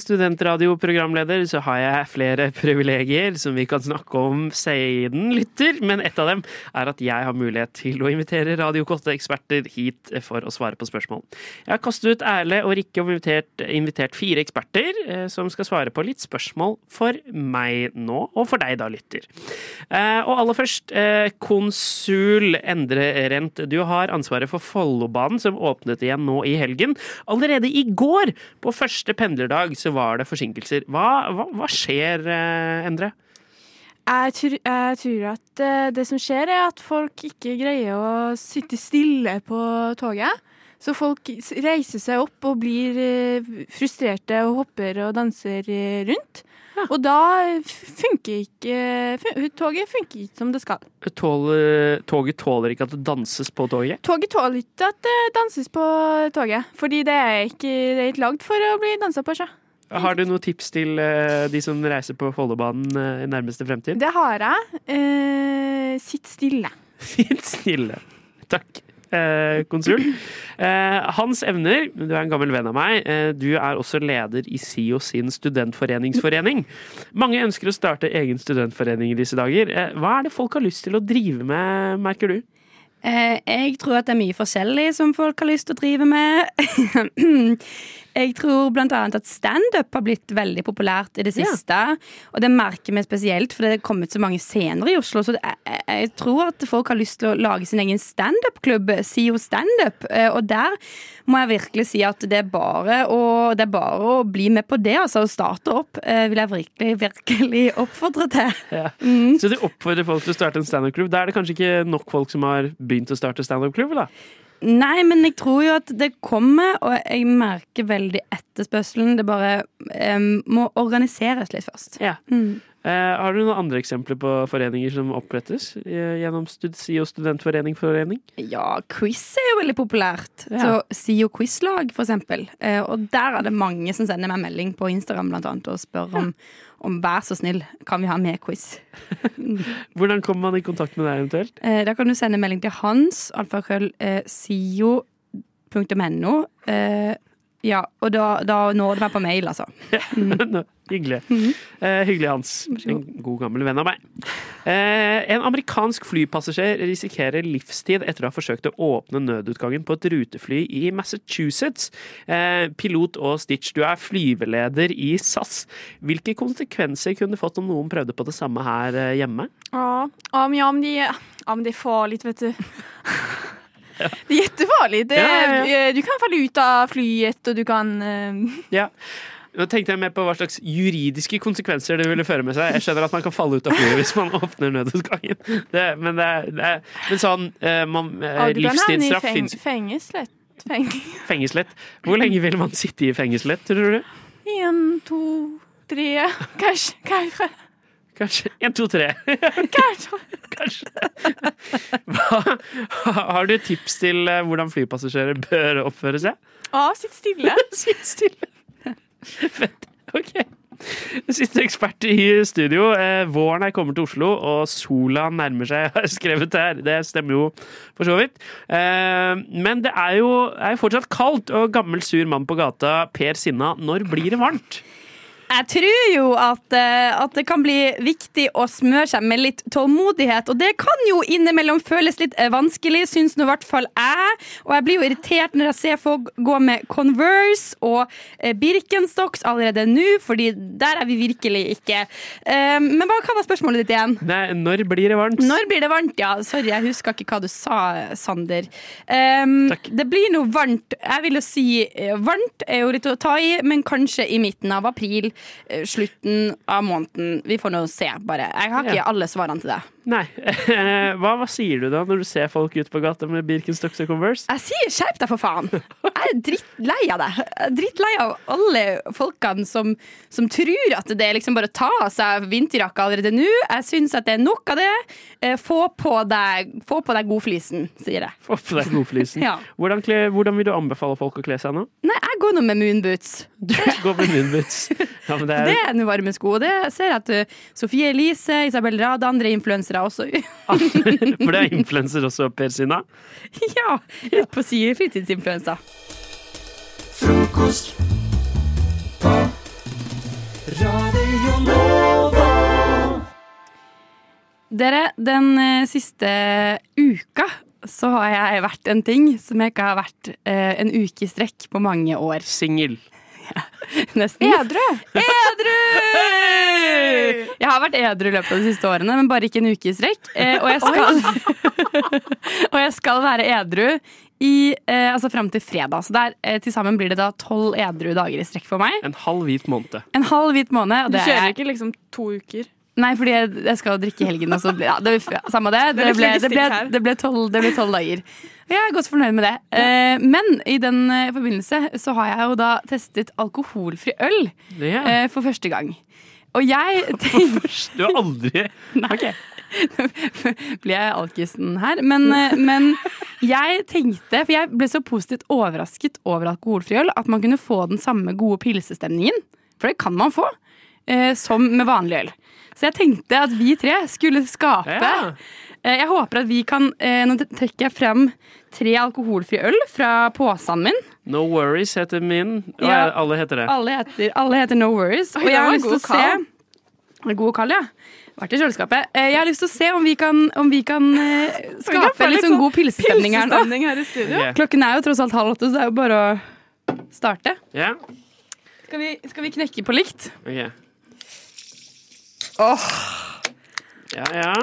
[SPEAKER 13] studentradioprogramleder så har jeg flere privilegier som vi kan snakke om siden lytter, men et av dem er at jeg har mulighet til å invitere Radio Kotte-eksperter hit eh, for å svare på spørsmål. Jeg har kastet ut Erle og Rikke og invitert, invitert fire eksperter eh, som skal svare på litt spørsmål for meg nå, og for deg da, lytter. Eh, og aller først, eh, konsul Endre Rent, du har ansvaret for Follobanen som åpnet igjen nå i helgen. Allerede i går, på første pendlerdag, så var det forsinkelser. Hva, hva, hva skjer, eh, Endre?
[SPEAKER 11] Jeg tror, jeg tror at eh, det som skjer, er at folk ikke greier å sitte stille på toget. Så folk s- reiser seg opp og blir eh, frustrerte og hopper og danser eh, rundt. Og da f- funker ikke fun Toget funker ikke som det skal.
[SPEAKER 13] Tåler, toget tåler ikke at det danses på toget?
[SPEAKER 11] Toget tåler ikke at det danses på toget, fordi det er ikke, det er ikke lagd for å bli dansa på. Sjø.
[SPEAKER 13] Har du noen tips til eh, de som reiser på Follobanen eh, i nærmeste fremtid?
[SPEAKER 11] Det har jeg. Eh, sitt stille.
[SPEAKER 13] Sitt snille. Takk. Eh, konsul. Eh, Hans Evner, du er en gammel venn av meg. Eh, du er også leder i SIO sin studentforeningsforening. Mange ønsker å starte egen studentforening i disse dager. Eh, hva er det folk har lyst til å drive med, merker du?
[SPEAKER 14] Eh, Jeg tror at det er mye forskjellig som folk har lyst til å drive med. Jeg tror bl.a. at standup har blitt veldig populært i det
[SPEAKER 13] Ja.
[SPEAKER 14] siste. Og det merker vi spesielt, for det er kommet så mange scener i Oslo. Så det, jeg, jeg tror at folk har lyst til å lage sin egen standup-klubb, SIO Standup. Eh, Og der må jeg virkelig si at det er bare å, det er bare å bli med på det, altså. Å starte opp eh, vil jeg virkelig, virkelig oppfordre til.
[SPEAKER 13] Ja. Så du oppfordrer folk til å starte en standup-klubb. Da er det kanskje ikke nok folk som har begynt å starte standup-klubb? da?
[SPEAKER 14] Nei, men jeg tror jo at det kommer, og jeg merker veldig etterspørselen. Det bare em, må organiseres litt først. Mm.
[SPEAKER 13] Eh, har du noen andre eksempler på foreninger som opprettes eh, gjennom stud SIO studentforening-forening?
[SPEAKER 14] Ja, quiz er jo veldig populært.
[SPEAKER 13] Ja.
[SPEAKER 14] Så SIO quizlag, for eksempel. Eh, og der er det mange som sender meg melding på Instagram blant annet, og spør om, om vær så snill, kan vi ha med quiz?
[SPEAKER 13] Hvordan kommer man i kontakt med deg eventuelt?
[SPEAKER 14] Eh, da kan du sende melding til hans, alfakrøll, eh, sio.no. Eh, ja, og da, da når det meg på mail, altså.
[SPEAKER 13] Nå, Hyggelig.
[SPEAKER 14] Mm.
[SPEAKER 13] Eh, hyggelig, Hans. En god gammel venn av meg. Eh, en amerikansk flypassasjer risikerer livstid etter å ha forsøkt å åpne nødutgangen på et rutefly i Massachusetts. Eh, pilot og Stitch, du er flyveleder i SAS. Hvilke konsekvenser kunne det fått om noen prøvde på det samme her eh, hjemme?
[SPEAKER 11] Ja, ja, men, ja, men, de, ja, men det er farlig, vet du. Det er jättefarlig. Det,
[SPEAKER 13] Ja, ja, ja.
[SPEAKER 11] Du kan falle ut av flyet, og du kan eh,
[SPEAKER 13] Ja. Nå tenkte jeg mer på hva slags juridiske konsekvenser det ville føre med seg. Jeg skjønner at man kan falle ut av flyet hvis man åpner nødutgangen. Det, men, det, er- det, er- men sånn eh, man, eh,
[SPEAKER 11] ja, Du kan havne i
[SPEAKER 13] Livstidsstraff
[SPEAKER 11] feng,
[SPEAKER 13] fins
[SPEAKER 11] fengslet. Feng,
[SPEAKER 13] Fengselet. Hvor lenge vil man sitte i fengselet, tror du?
[SPEAKER 11] en, to, tre, kanskje. kanskje.
[SPEAKER 13] Kanskje én, to, tre. Kanskje. Hva, har du tips til eh, hvordan flypassasjerer bør oppføre seg?
[SPEAKER 11] Ja, sitt stille.
[SPEAKER 13] sitt stille. Siste ekspert i studio. Eh, våren er kommet til Oslo, og sola nærmer seg, har jeg skrevet her. Det stemmer jo for så vidt. Eh, men det er jo, er jo fortsatt kaldt, og gammel sur mann på gata, Per Sinna, når blir det varmt?
[SPEAKER 14] Jeg tror jo at, eh, at det kan bli viktig å smøre seg med litt tålmodighet. Og det kan jo innimellom føles litt eh, vanskelig, syns nå i hvert fall jeg. Og jeg blir jo irritert når jeg ser folk gå med Converse og eh, Birkenstocks allerede nå, fordi der er vi virkelig ikke. Eh, Men hva, hva var spørsmålet ditt igjen?
[SPEAKER 13] Nei, når blir det varmt?
[SPEAKER 14] Når blir det varmt? Ja, sorry, jeg husker ikke hva du sa, Sander. Ehm, det blir noe varmt. Jeg vil jo si eh, varmt er jo litt å ta i, men kanskje i midten av april, eh, slutten av måneden. Vi får nå se, bare. Jeg har ikke
[SPEAKER 13] Ja.
[SPEAKER 14] alle svarene til det.
[SPEAKER 13] Nei. Eh, Hva, hva sier du da når du ser folk ute på gata med Birkenstocks og Converse?
[SPEAKER 14] Jeg sier skjerp deg, for faen! Jeg er drittlei av det. Jeg er drittlei av alle folkene som, som tror at det er liksom bare å ta av seg vinterjakka allerede nå. Jeg syns at det er nok av det. Eh, Få på deg, få på deg godflisen, sier jeg.
[SPEAKER 13] Få på deg godflisen.
[SPEAKER 14] Ja.
[SPEAKER 13] hvordan, kle- hvordan vil du anbefale folk å kle seg nå?
[SPEAKER 14] Nei, jeg går nå med moonboots.
[SPEAKER 13] Gå med munnbits. Ja, men det er-
[SPEAKER 14] Det er en varme sko. Det ser jeg at uh, Sofie Elise, Isabel Rad, andre influensere også
[SPEAKER 13] For det er influenser også, Per Sina.
[SPEAKER 14] Ja, ut på sier fritidsinfluensa.
[SPEAKER 13] Frokost.
[SPEAKER 14] Dere, den eh, siste uka så har jeg vært en ting som jeg ikke har vært eh, en uke i strekk på mange år.
[SPEAKER 13] Singel.
[SPEAKER 14] Nesten. Edru! Edru! Jeg har vært edru i løpet av de siste årene, men bare ikke en uke i strekk. Eh, og, jeg skal, og jeg skal være edru i, eh, altså fram til fredag. Så der, eh, til sammen blir det da tolv edru dager i strekk for meg.
[SPEAKER 13] En halv hvit måned.
[SPEAKER 14] En halv hvit måned. Og
[SPEAKER 11] Du
[SPEAKER 14] det er
[SPEAKER 11] kjører
[SPEAKER 14] jeg-
[SPEAKER 11] ikke liksom to uker?
[SPEAKER 14] Nei, fordi jeg, jeg skal drikke i helgen. Og så ble, ja, det, ja, samme det. Det
[SPEAKER 11] Det er litt
[SPEAKER 14] ble, det, ble,
[SPEAKER 11] logistikk her.
[SPEAKER 14] det, ble tolv, det ble tolv dager. Jeg er godt fornøyd med det. Eh, men i den eh, forbindelse så har jeg jo da testet alkoholfri øl
[SPEAKER 13] Ja.
[SPEAKER 14] eh, for første gang. Og jeg tenker
[SPEAKER 13] Du har aldri
[SPEAKER 14] Nei. blir jeg alkisen her. Men, eh, men jeg tenkte, for jeg ble så positivt overrasket over alkoholfri øl, at man kunne få den samme gode pilsestemningen. For det kan man få. eh, Som med vanlig øl. Så jeg tenkte at vi tre skulle skape
[SPEAKER 13] Ja.
[SPEAKER 14] Eh, Jeg håper at vi kan eh, Nå trekker jeg frem tre alkoholfri øl fra posen min.
[SPEAKER 13] No worries heter min. Og
[SPEAKER 14] Ja.
[SPEAKER 13] jeg- alle heter det.
[SPEAKER 14] Alle heter, alle heter No Worries.
[SPEAKER 11] Oi,
[SPEAKER 14] Og
[SPEAKER 11] den
[SPEAKER 14] jeg har
[SPEAKER 11] var
[SPEAKER 14] lyst til å
[SPEAKER 11] god, Karl.
[SPEAKER 14] se God kall, ja. Vært i kjøleskapet. Eh, Jeg har lyst til å se om vi kan, om vi kan eh,
[SPEAKER 11] kan få
[SPEAKER 14] skape litt
[SPEAKER 11] litt
[SPEAKER 14] sånn
[SPEAKER 11] sånn
[SPEAKER 14] god pilsestemning her nå.
[SPEAKER 11] pilsestemning her i studio.
[SPEAKER 13] Yeah.
[SPEAKER 14] Klokken er jo tross alt halv åtte, så det er jo bare å starte.
[SPEAKER 13] Ja?
[SPEAKER 14] Skal vi, skal vi knekke på likt?
[SPEAKER 13] Ok.
[SPEAKER 14] Åh,
[SPEAKER 13] Ja, ja.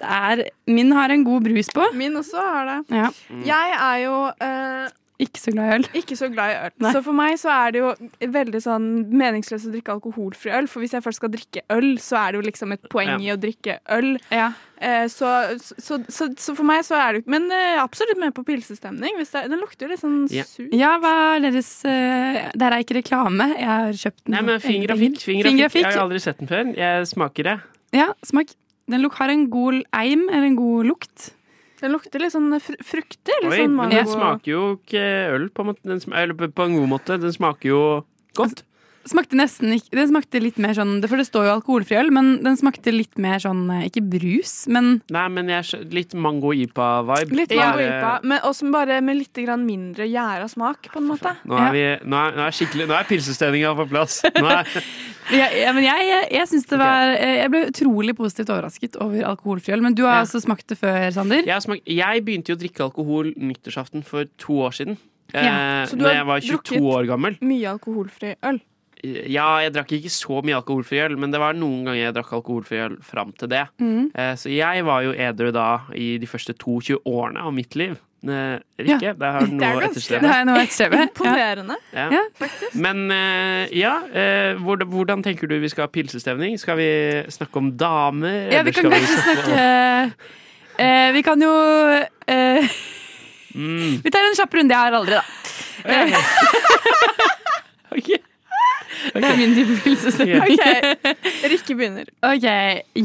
[SPEAKER 14] det er, min har en god brus på.
[SPEAKER 11] Min også har det.
[SPEAKER 14] Ja.
[SPEAKER 13] Mm.
[SPEAKER 11] Jeg er jo eh,
[SPEAKER 14] Ikke så glad i øl.
[SPEAKER 11] ikke så glad i øl.
[SPEAKER 14] Nei.
[SPEAKER 11] Så for meg så er det jo veldig sånn meningsløst å drikke alkoholfri øl, for hvis jeg først skal drikke øl, så er det jo liksom et poeng i
[SPEAKER 14] Ja.
[SPEAKER 11] å drikke øl. Eh, så, så, så, så for meg så er det jo Men eh, absolutt med på pilsestemning. Hvis det, er- den lukter jo litt sånn
[SPEAKER 13] Ja.
[SPEAKER 11] sur.
[SPEAKER 14] Ja, hva er deres eh, Det her er ikke reklame. Jeg har kjøpt den.
[SPEAKER 13] Nei, men fin grafikk. Fin grafikk. Jeg har aldri sett den før. Jeg smaker det.
[SPEAKER 14] Ja, smak. Den luk har en god eim, eller en god lukt.
[SPEAKER 11] Den lukter litt sånn fr fruktig. Litt
[SPEAKER 13] Oi,
[SPEAKER 11] sånn
[SPEAKER 13] men den
[SPEAKER 11] mango-
[SPEAKER 13] smaker jo ikke øl på en, måte. Den sm eller på på en god måte. Den smaker jo godt.
[SPEAKER 14] Smakte nesten ikke Den smakte litt mer sånn For det står jo alkoholfri øl, men den smakte litt mer sånn eh, Ikke brus, men
[SPEAKER 13] Nei, men jeg, skjø- litt mango-ipa-vibe.
[SPEAKER 11] Litt mango ipa, men også bare med litt grann mindre gjæra smak, på en måte.
[SPEAKER 13] Nå er, vi, nå er, nå er, skikkelig- nå er pilsestemninga på plass. Nå er,
[SPEAKER 14] ja, ja, men jeg, jeg, jeg syns det var eh, Jeg ble utrolig positivt overrasket over alkoholfri øl. Men du har altså smakt det før, Sander?
[SPEAKER 13] jeg, smak, jeg begynte jo å drikke alkohol nyttårsaften for to år siden.
[SPEAKER 11] Ja,
[SPEAKER 13] Eh,
[SPEAKER 11] så du
[SPEAKER 13] når
[SPEAKER 11] har
[SPEAKER 13] jeg var 22
[SPEAKER 11] drukket-
[SPEAKER 13] år gammel.
[SPEAKER 11] Mye alkoholfri øl.
[SPEAKER 13] Ja, jeg drakk ikke så mye alkoholfri øl, men det var noen ganger jeg drakk alkoholfri øl fram til det.
[SPEAKER 14] Mm.
[SPEAKER 11] Mhm.
[SPEAKER 13] Eh, Så jeg var jo edru da i de første 22 årene av mitt liv. Eh, Rikke, det har du noe å
[SPEAKER 14] Det har jeg noe å
[SPEAKER 13] etterstrebe.
[SPEAKER 14] etterstrebe.
[SPEAKER 11] Imponerende.
[SPEAKER 13] Ja. Men eh, ja, eh, hvordan, hvordan tenker du vi skal ha pilsestemning? Skal vi snakke om damer?
[SPEAKER 14] Ja,
[SPEAKER 13] eller
[SPEAKER 14] vi
[SPEAKER 13] skal
[SPEAKER 14] kan kanskje snakke eh, Vi kan jo eh,
[SPEAKER 13] Mm.
[SPEAKER 14] Vi tar en kjapp runde. Jeg har aldri, da. Det er min type pilsestemning.
[SPEAKER 11] Rikke begynner.
[SPEAKER 14] OK.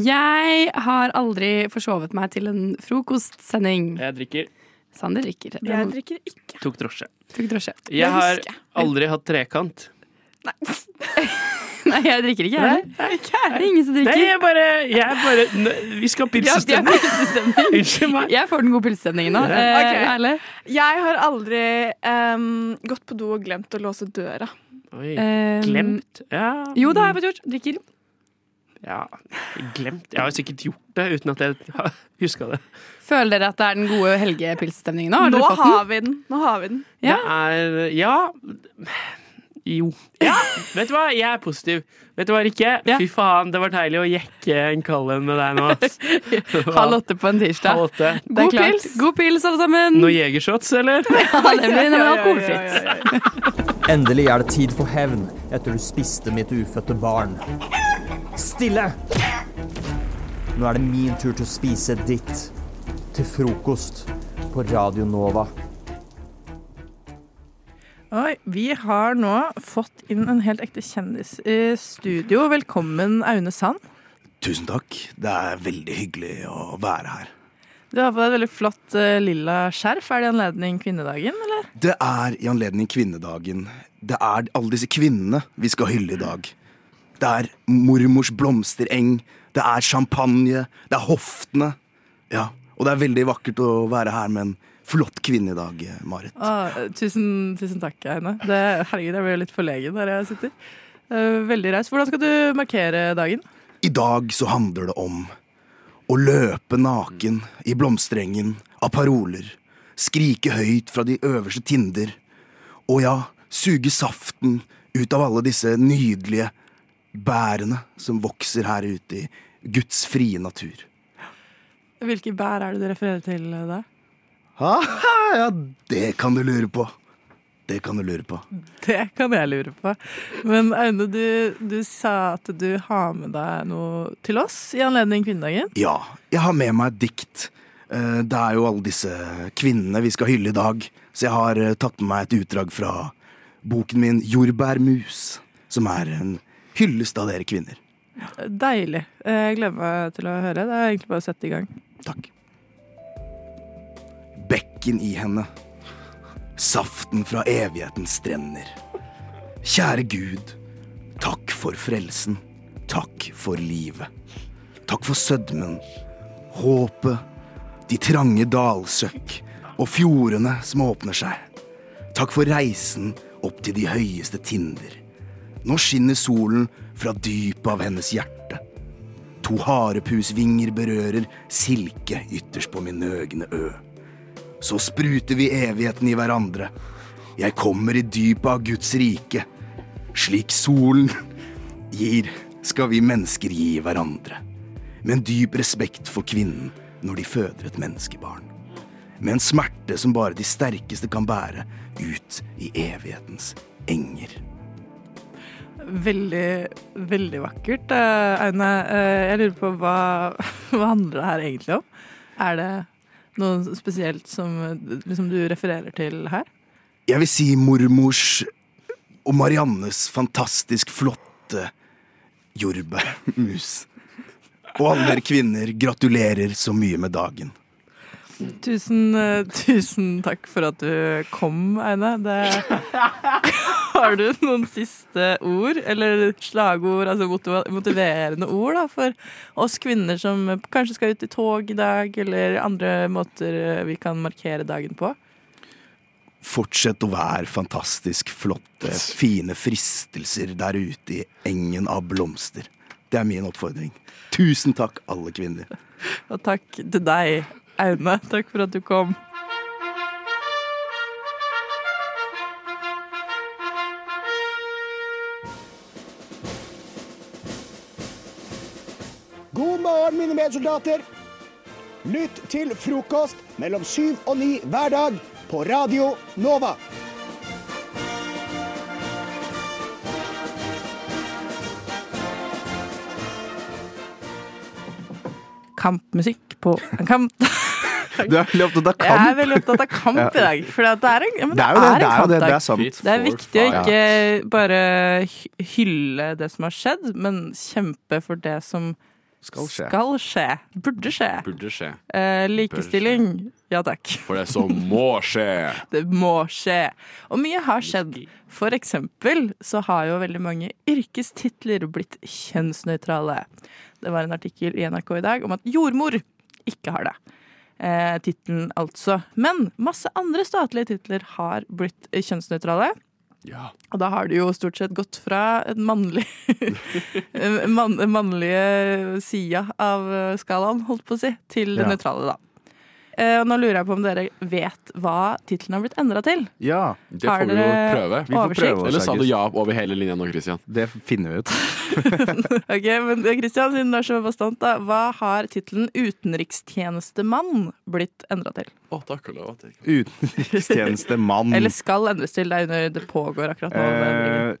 [SPEAKER 14] Jeg har aldri forsovet meg til en frokostsending.
[SPEAKER 13] Jeg drikker.
[SPEAKER 14] Sander drikker.
[SPEAKER 11] Jeg drikker ikke.
[SPEAKER 13] Tok drosje.
[SPEAKER 14] Tok drosje.
[SPEAKER 13] Jeg har aldri hatt trekant.
[SPEAKER 14] Nei, jeg drikker ikke, jeg heller. Det er ingen som drikker.
[SPEAKER 13] Nei, jeg bare, jeg bare N- Vi skal ha pilsestemning! Unnskyld meg.
[SPEAKER 14] Jeg får den gode pilsestemningen nå.
[SPEAKER 13] Ja.
[SPEAKER 14] Eh,
[SPEAKER 11] Ok.
[SPEAKER 14] Erle?
[SPEAKER 11] Jeg har aldri em, gått på do og glemt å låse døra.
[SPEAKER 13] Oi,
[SPEAKER 14] Eh,
[SPEAKER 13] glemt? Ja.
[SPEAKER 14] Jo, det har jeg fått gjort. Drikker.
[SPEAKER 13] Mm. Ja, glemt. Jeg har sikkert gjort det uten at jeg huska det.
[SPEAKER 14] Føler dere at det er den gode helgepilsestemningen nå? Har
[SPEAKER 11] Nå
[SPEAKER 14] dere fått
[SPEAKER 11] har
[SPEAKER 14] den?
[SPEAKER 11] vi den. Nå har vi den.
[SPEAKER 13] Det er Ja. Jo. Ja, vet du hva? Jeg er positiv. Vet du hva, Rikke? Fy faen, det var deilig å jekke en kald en med deg nå. ass. Det var-
[SPEAKER 14] Halv åtte på en tirsdag.
[SPEAKER 13] Halv åtte.
[SPEAKER 14] Det er klart. God pils, alle sammen.
[SPEAKER 13] Noe jegershots, eller?
[SPEAKER 14] Ja, det blir nemlig alkoholfritt.
[SPEAKER 15] Endelig er det tid for hevn etter du spiste mitt ufødte barn. Stille! Nå er det min tur til å spise ditt. Til frokost på Radio Nova.
[SPEAKER 16] Oi, vi har nå fått inn en helt ekte kjendis i studio. Velkommen, Aune Sand.
[SPEAKER 17] Tusen takk. Det er veldig hyggelig å være her.
[SPEAKER 16] Du har på deg et veldig flott eh, lilla skjerf. Er det i anledning kvinnedagen, eller?
[SPEAKER 17] Det er i anledning kvinnedagen. Det er alle disse kvinnene vi skal hylle i dag. Det er mormors blomstereng, det er champagne, det er hoftene. Ja, Og det er veldig vakkert å være her med en flott kvinne i dag, eh, Marit.
[SPEAKER 16] Å, eh, tusen, tusen takk, Aune. Det, herregud, jeg ble jo litt forlegen der jeg sitter. Eh, Veldig raus. Hvordan skal du markere dagen?
[SPEAKER 17] I dag så handler det om å løpe naken i blomsterengen av paroler, skrike høyt fra de øverste tinder, og ja, suge saften ut av alle disse nydelige bærene som vokser her ute i Guds frie natur.
[SPEAKER 16] Hvilke bær er det du refererer til eh, da?
[SPEAKER 17] Ha, ha, ja, det kan du lure på. Det kan du lure på.
[SPEAKER 16] Det kan jeg lure på. Men Aune, du, du sa at du har med deg noe til oss i anledning kvinnedagen.
[SPEAKER 17] Ja, jeg har med meg et dikt. Eh, Det er jo alle disse kvinnene vi skal hylle i dag, så jeg har eh, tatt med meg et utdrag fra boken min 'Jordbærmus', som er en hyllest av dere kvinner.
[SPEAKER 16] Deilig. Eh, Jeg gleder meg til å høre. Det er egentlig bare å sette i gang.
[SPEAKER 17] Bekken i henne, saften fra evighetens strender. Kjære Gud, takk for frelsen, takk for livet. Takk for sødmen, håpet, de trange dalsøkk og fjordene som åpner seg. Takk for reisen opp til de høyeste tinder. Nå skinner solen fra dypet av hennes hjerte. To harepusvinger berører silke ytterst på min nøgne ø. Så spruter vi evigheten i hverandre. Jeg kommer i dypet av Guds rike. Slik solen gir, skal vi mennesker gi hverandre. Med en dyp respekt for kvinnen når de føder et menneskebarn. Med en smerte som bare de sterkeste kan bære ut i evighetens enger.
[SPEAKER 16] Veldig, veldig vakkert. Eh, Aune, eh, jeg lurer på hva, hva handler det her egentlig om? Er det noe spesielt som eh, liksom, du refererer til her?
[SPEAKER 17] Jeg vil si mormors og Mariannes fantastisk flotte jordbærmus. Og alle dere kvinner, gratulerer så mye med dagen.
[SPEAKER 16] Tusen, eh, tusen takk for at du kom, Aune. Det, har du noen siste ord, eller slagord, altså motiva- motiverende ord, da, for oss kvinner som kanskje skal ut i tog i dag, eller andre måter eh, vi kan markere dagen på?
[SPEAKER 17] Fortsett å være fantastisk flotte, fine fristelser der ute i engen av blomster. Det er min oppfordring. Tusen takk, alle kvinner.
[SPEAKER 16] Og takk til deg, Aune. Takk for at du kom.
[SPEAKER 18] God morgen, mine medsoldater. Lytt til frokost mellom syv og ni hver dag på Radio Nova.
[SPEAKER 16] Kampmusikk på en kamp.
[SPEAKER 17] Du er veldig opptatt av kamp.
[SPEAKER 16] Jeg er veldig opptatt av kamp i dag. For det er en, ja, men
[SPEAKER 17] Det er jo det,
[SPEAKER 16] en
[SPEAKER 17] det er jo det, det er
[SPEAKER 16] kampdag.
[SPEAKER 17] sant.
[SPEAKER 16] Det er viktig å
[SPEAKER 17] Ja.
[SPEAKER 16] ikke bare hy- hylle det som har skjedd, men kjempe for det som
[SPEAKER 19] Skal skje.
[SPEAKER 16] skal skje. Burde skje.
[SPEAKER 19] Burde skje.
[SPEAKER 16] Eh, likestilling. Ja takk.
[SPEAKER 19] For det som må skje.
[SPEAKER 16] Det må skje. Og mye har skjedd. For eksempel så har jo veldig mange yrkestitler blitt kjønnsnøytrale. Det var en artikkel i NRK i dag om at jordmor ikke har det. Eh, Tittelen altså. Men masse andre statlige titler har blitt kjønnsnøytrale. Og da har det jo stort sett gått fra en mannlig mann, mannlige sida av skalaen, holdt på å si, til det
[SPEAKER 17] Ja.
[SPEAKER 16] nøytrale, da. Eh, og nå lurer jeg på om dere vet hva tittelen har blitt endra til.
[SPEAKER 17] Ja.
[SPEAKER 19] Det
[SPEAKER 16] Har
[SPEAKER 19] får vi jo
[SPEAKER 16] dere
[SPEAKER 19] prøve.
[SPEAKER 16] Vi får prøve oss,
[SPEAKER 19] Eller sa du
[SPEAKER 16] August.
[SPEAKER 19] ja over hele linja nå, Christian?
[SPEAKER 17] Det finner vi ut.
[SPEAKER 16] Ok, men Kristian, siden du er så bastant, da. Hva har tittelen utenrikstjenestemann blitt endra til?
[SPEAKER 19] Å, takk og lov. Takk.
[SPEAKER 17] Utenrikstjenestemann.
[SPEAKER 16] Eller skal endres til. Det er under det pågår akkurat nå. med endringen.
[SPEAKER 17] Eh,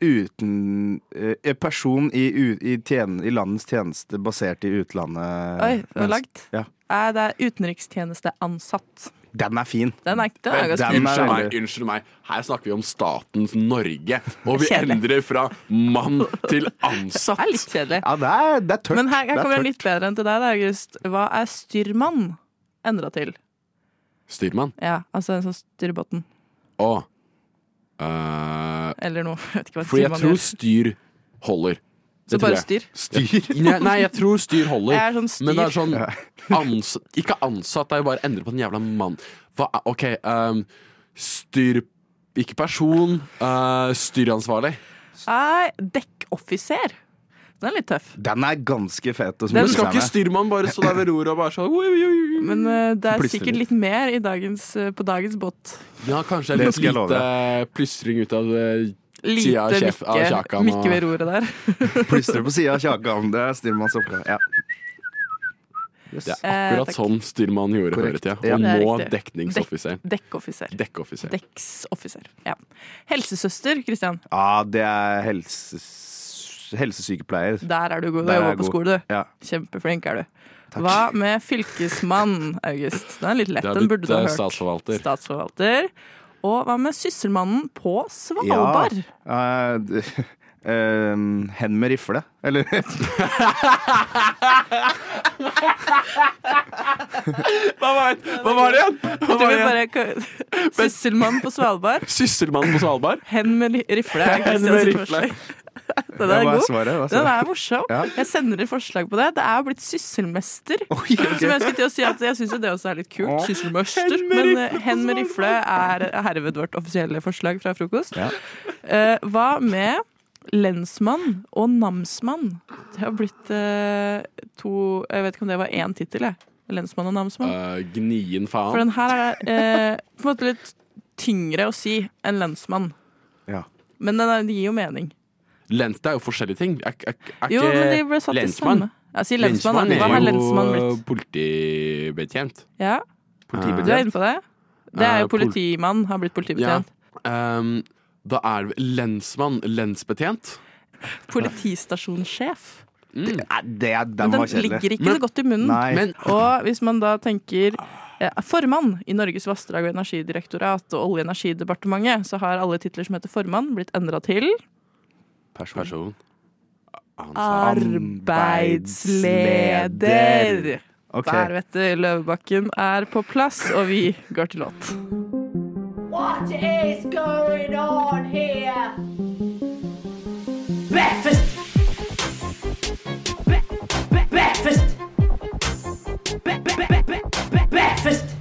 [SPEAKER 17] uten eh, en Person i, u- i, tjen, i landets tjeneste basert i utlandet.
[SPEAKER 16] Oi, det var
[SPEAKER 17] Mens-
[SPEAKER 16] langt.
[SPEAKER 17] Ja.
[SPEAKER 16] Nei, det er utenrikstjenesteansatt.
[SPEAKER 17] Den er fin.
[SPEAKER 16] Den er, den er ganske
[SPEAKER 19] Unnskyld meg,
[SPEAKER 16] veldig-
[SPEAKER 19] unnskyld meg. Her snakker vi om statens Norge, og vi
[SPEAKER 16] Kjedelig.
[SPEAKER 19] endrer fra mann til ansatt.
[SPEAKER 16] Det er litt kjedelig.
[SPEAKER 17] Ja, det er, det er tørt.
[SPEAKER 16] Men her, her
[SPEAKER 19] Det er
[SPEAKER 16] kommer
[SPEAKER 19] tørt.
[SPEAKER 16] en litt bedre enn til deg, da, August. Hva er styrmann endra til?
[SPEAKER 19] Styrmann?
[SPEAKER 16] Ja, altså en som styrer båten.
[SPEAKER 19] Å. Eh,
[SPEAKER 16] Eller noe. Jeg vet ikke hva
[SPEAKER 19] fordi jeg
[SPEAKER 16] styrmann
[SPEAKER 19] tror
[SPEAKER 16] gjør.
[SPEAKER 19] styr holder.
[SPEAKER 16] Så
[SPEAKER 19] Det
[SPEAKER 16] bare
[SPEAKER 19] tror jeg.
[SPEAKER 17] styr?
[SPEAKER 19] Ja. Nei, nei, jeg tror styr holder.
[SPEAKER 16] Jeg er sånn styr.
[SPEAKER 19] Men det er sånn ans Ikke ansatt, det er jo bare å endre på den jævla mannen. Hva er- OK, ehm, styr Ikke person. eh, styransvarlig.
[SPEAKER 16] Nei, dekkoffiser. Den er litt tøff.
[SPEAKER 17] Den er ganske fet. og som
[SPEAKER 19] Men
[SPEAKER 17] du
[SPEAKER 19] skal
[SPEAKER 17] sa
[SPEAKER 19] ikke
[SPEAKER 17] med.
[SPEAKER 19] styrmann bare stå der ved roret og bare sånn oi, oi, oi.
[SPEAKER 16] Men eh,
[SPEAKER 19] Mm,
[SPEAKER 16] det er
[SPEAKER 19] Plystring.
[SPEAKER 16] sikkert litt mer i dagens, eh, på dagens båt.
[SPEAKER 19] Ja, kanskje
[SPEAKER 17] Det
[SPEAKER 19] litt
[SPEAKER 17] skal jeg love
[SPEAKER 19] lite plystring ut av eh,
[SPEAKER 16] Lite
[SPEAKER 19] tida av kjef- av
[SPEAKER 16] Mikke,
[SPEAKER 19] kjakan
[SPEAKER 16] mikke ved
[SPEAKER 19] og
[SPEAKER 16] roret der.
[SPEAKER 17] Plystre på sida av kjakan. Det er styrmanns oppgave. Ja.
[SPEAKER 19] Det er
[SPEAKER 16] Eh,
[SPEAKER 19] akkurat
[SPEAKER 16] takk.
[SPEAKER 19] sånn styrmannen gjorde før i
[SPEAKER 16] Korrekt.
[SPEAKER 19] tida.
[SPEAKER 16] Ja.
[SPEAKER 19] Og
[SPEAKER 16] Det er
[SPEAKER 19] nå
[SPEAKER 16] riktig.
[SPEAKER 19] dekningsoffiseren.
[SPEAKER 16] Dek- dekkoffiser.
[SPEAKER 19] Dekkoffiser.
[SPEAKER 16] Dekksoffiser. Ja. Helsesøster, Kristian.
[SPEAKER 20] Ja, det er helses- helsesykepleier.
[SPEAKER 16] Der er du god. Du
[SPEAKER 20] Der
[SPEAKER 16] har
[SPEAKER 20] er
[SPEAKER 16] jobba
[SPEAKER 20] jeg
[SPEAKER 16] på
[SPEAKER 20] god.
[SPEAKER 16] skole, du.
[SPEAKER 20] Ja.
[SPEAKER 16] Kjempeflink er du. Hva med fylkesmann, August? Den er litt lett,
[SPEAKER 19] Det er
[SPEAKER 16] den
[SPEAKER 19] blitt,
[SPEAKER 16] burde du ha
[SPEAKER 19] eh,
[SPEAKER 16] hørt.
[SPEAKER 19] statsforvalter.
[SPEAKER 16] Statsforvalter. Og hva med sysselmannen på Svalbard?
[SPEAKER 20] Ja, eh, d- eh, hen med rifle, eller
[SPEAKER 19] Hva var, hva var det igjen? Hva
[SPEAKER 16] Jeg
[SPEAKER 19] var
[SPEAKER 16] tror
[SPEAKER 19] det
[SPEAKER 16] vi
[SPEAKER 19] igjen?
[SPEAKER 16] bare kan- Sysselmann på Svalbard.
[SPEAKER 19] Sysselmannen på Svalbard?
[SPEAKER 16] Hen med li- rifle. er
[SPEAKER 19] Hen med
[SPEAKER 16] Kristians
[SPEAKER 19] rifle.
[SPEAKER 16] forslag. Den
[SPEAKER 20] Ja,
[SPEAKER 16] er
[SPEAKER 20] hva er
[SPEAKER 16] god.
[SPEAKER 20] svaret? Hva er svaret?
[SPEAKER 16] Den er morsom.
[SPEAKER 20] Ja.
[SPEAKER 16] Jeg sender et forslag på det. Det er jo blitt sysselmester. Som jeg skulle til å si at jeg syns jo det også er litt kult. Sysselmester.
[SPEAKER 20] Hen med
[SPEAKER 16] Men
[SPEAKER 20] rifle
[SPEAKER 16] eh, hen med rifle er herved vårt offisielle forslag fra frokost.
[SPEAKER 20] Ja.
[SPEAKER 16] Eh, Hva med Lensmann og namsmann. Det har blitt eh, to Jeg vet ikke om det var én tittel, jeg. Lensmann og namsmann.
[SPEAKER 19] Eh, gnien faen.
[SPEAKER 16] For den her er eh, på en måte litt tyngre å si enn lensmann.
[SPEAKER 19] Ja.
[SPEAKER 16] Men den, er, den gir jo mening.
[SPEAKER 19] Lens, det er jo forskjellige ting. Er, er, er
[SPEAKER 16] Jo,
[SPEAKER 19] ikke
[SPEAKER 16] men de ble satt i samme. Ja, si lensmann, da. Hva har
[SPEAKER 19] er
[SPEAKER 16] lensmann
[SPEAKER 19] jo
[SPEAKER 16] blilt?
[SPEAKER 19] politibetjent.
[SPEAKER 16] Ja.
[SPEAKER 19] Politibetjent.
[SPEAKER 16] Du er inne på det? Det er
[SPEAKER 19] Eh,
[SPEAKER 16] jo
[SPEAKER 19] pol-
[SPEAKER 16] politimann. Har blitt
[SPEAKER 19] Ja.
[SPEAKER 16] politibetjent.
[SPEAKER 19] Ehm, da er det lensmann. Lensbetjent.
[SPEAKER 16] Politistasjonssjef.
[SPEAKER 19] Mm.
[SPEAKER 16] Men den ligger ikke så godt i munnen.
[SPEAKER 19] Men,
[SPEAKER 16] og hvis man da tenker eh, formann i Norges vassdrag- og energidirektorat og Olje- og energidepartementet, så har alle titler som heter formann, blitt endra til
[SPEAKER 19] person.
[SPEAKER 16] arbeidsleder.
[SPEAKER 20] Ok.
[SPEAKER 16] Der, vet du, Løvebakken er på plass, og vi går til låt.
[SPEAKER 21] What is going on here? Breakfast. Bre- bre- breakfast. Bre- bre- bre- bre- breakfast.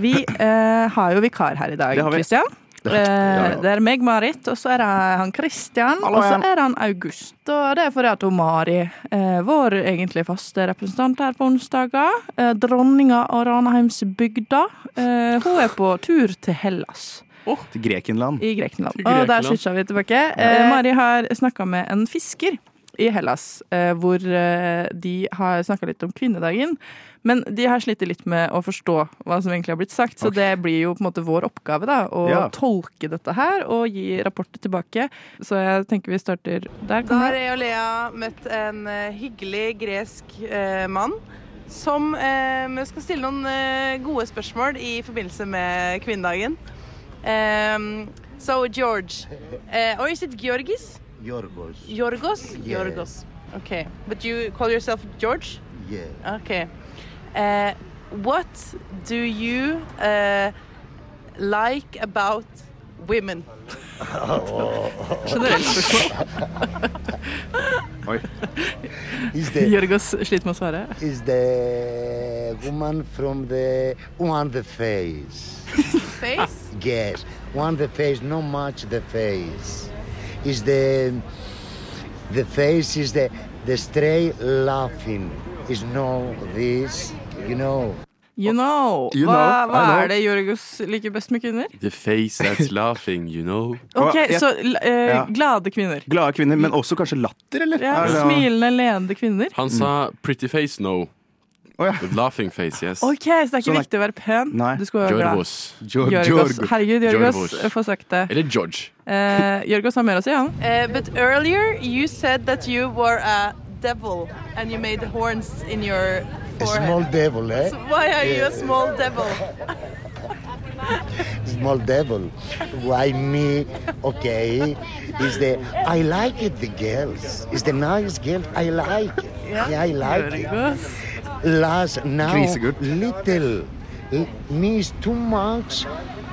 [SPEAKER 16] Vi eh, har jo vikar her i dag,
[SPEAKER 20] Det har vi.
[SPEAKER 16] Kristian.
[SPEAKER 20] Ja.
[SPEAKER 16] Eh,
[SPEAKER 20] Ja, ja.
[SPEAKER 16] det er meg, Marit, og så er det han Kristian,
[SPEAKER 20] Hallo
[SPEAKER 16] og så
[SPEAKER 20] igjen.
[SPEAKER 16] er det han August. Og det er fordi at hun Mari, eh, vår egentlig faste representant her på onsdager, eh, dronninga av Ranheimsbygda, eh, hun er på tur til Hellas.
[SPEAKER 20] Til Grekenland.
[SPEAKER 16] I Grekenland.
[SPEAKER 20] Til
[SPEAKER 16] Og der
[SPEAKER 20] Grekenland.
[SPEAKER 16] switcha vi tilbake. Eh, Mari har snakka med en fisker i Hellas, eh, hvor eh, de har snakka litt om kvinnedagen. Men de har slitt litt med å forstå hva som egentlig har blitt sagt, så det blir jo på en måte vår oppgave da, å
[SPEAKER 20] Ja.
[SPEAKER 16] tolke dette her og gi rapporter tilbake. Så jeg tenker vi starter der.
[SPEAKER 22] Da
[SPEAKER 16] kommer
[SPEAKER 22] har
[SPEAKER 16] det.
[SPEAKER 22] jeg og Lea møtt en eh, hyggelig gresk eh, mann som eh, vi skal stille noen eh, gode spørsmål i forbindelse med kvinnedagen. Um, so George, eh, or is it Georgis?
[SPEAKER 23] Yorgos.
[SPEAKER 22] Yorgos?
[SPEAKER 23] Yeah.
[SPEAKER 22] Yorgos. Okay, but you call yourself George?
[SPEAKER 23] Yeah.
[SPEAKER 22] Okay. Uh, what do you uh, like about women?
[SPEAKER 16] Generelt spørsmål.
[SPEAKER 20] Oi.
[SPEAKER 23] Is the
[SPEAKER 16] Jørgos sliter med å svare.
[SPEAKER 23] is the woman from the on the face?
[SPEAKER 22] Face?
[SPEAKER 23] Yes, on the face, not much the face. Is the the face is the the stray laughing? Is no this, you know.
[SPEAKER 16] You know.
[SPEAKER 23] You
[SPEAKER 16] hva
[SPEAKER 23] know,
[SPEAKER 16] hva
[SPEAKER 23] I know.
[SPEAKER 16] er det Jorgos liker best med kvinner?
[SPEAKER 19] The face that's laughing, you know.
[SPEAKER 16] OK, så eh,
[SPEAKER 19] Ja.
[SPEAKER 16] glade kvinner.
[SPEAKER 20] Glade kvinner, men også kanskje latter, eller?
[SPEAKER 16] Ja, smilende, leende kvinner.
[SPEAKER 19] Han sa 'pretty face, no'. But laughing face, yes.
[SPEAKER 16] OK, så det er ikke
[SPEAKER 19] Sånn er-
[SPEAKER 16] viktig å være pen. Du skal være glad.
[SPEAKER 19] Jorgos.
[SPEAKER 16] Jorgos. Herregud, Jorgos.
[SPEAKER 19] Jorgos.
[SPEAKER 16] Få sagt det.
[SPEAKER 19] Eller George.
[SPEAKER 16] Eh, Jorgos har mer å si, han.
[SPEAKER 22] Uh, but earlier you said that you were a devil and you made horns in your
[SPEAKER 23] A small devil, eh?
[SPEAKER 22] So why are you
[SPEAKER 23] Yeah.
[SPEAKER 22] a small devil?
[SPEAKER 23] small devil. Why me? Okay, is the I like it. The girls is the nice girl. I like it. Yeah, I like
[SPEAKER 22] Very
[SPEAKER 23] it.
[SPEAKER 22] good.
[SPEAKER 23] Last now
[SPEAKER 20] Grisegutt.
[SPEAKER 23] little L- me is too much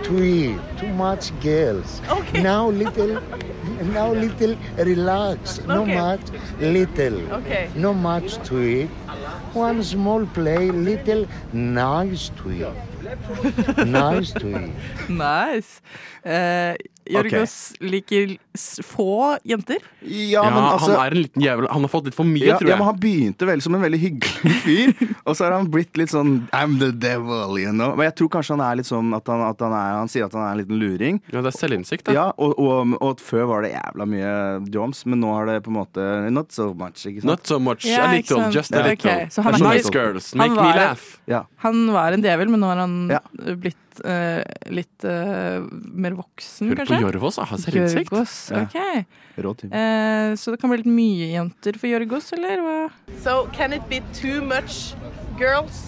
[SPEAKER 23] to eat. Too much girls. Okay. Now little. Now little relax. No
[SPEAKER 22] Okay.
[SPEAKER 23] much. Little.
[SPEAKER 22] Okay.
[SPEAKER 23] No much to eat. One small play. Little nice to e. eat. Nice to eat.
[SPEAKER 16] Nice. Eh, Jorgos liker s- få jenter.
[SPEAKER 19] Ja,
[SPEAKER 16] men altså-
[SPEAKER 19] Han er en liten jævel. Han har fått litt for mye,
[SPEAKER 20] ja,
[SPEAKER 19] tror jeg.
[SPEAKER 20] ja, men Han begynte vel som en veldig hyggelig fyr, og så har han blitt litt sånn I'm the devil, you know. Men jeg tror kanskje han er litt sånn at han, at han, er, han sier at han er en liten luring.
[SPEAKER 19] Ja, det er selvinnsikt,
[SPEAKER 20] Ja, og, og, og at før var det jævla mye joms, men nå har det på en måte Not so much, ikke sant?
[SPEAKER 19] Not so much. Ja, I liked ikke all, sant. just a
[SPEAKER 20] Ja.
[SPEAKER 19] little.
[SPEAKER 16] Ok, så han er ikke-
[SPEAKER 19] nice girls,
[SPEAKER 16] han
[SPEAKER 19] make me
[SPEAKER 16] var-
[SPEAKER 19] laugh.
[SPEAKER 20] Ja.
[SPEAKER 16] Han var en djevel, men nå har han eh, blitt eh, litt eh, mer voksen,
[SPEAKER 19] Hør på
[SPEAKER 16] kanskje.
[SPEAKER 19] Jorgos, da. Har selvinnsikt.
[SPEAKER 16] Jorgos,
[SPEAKER 19] Ja.
[SPEAKER 16] ok.
[SPEAKER 20] Rå type.
[SPEAKER 16] Eh, så det kan bli litt mye jenter for Jorgos, eller hva?
[SPEAKER 22] So can it be too much girls?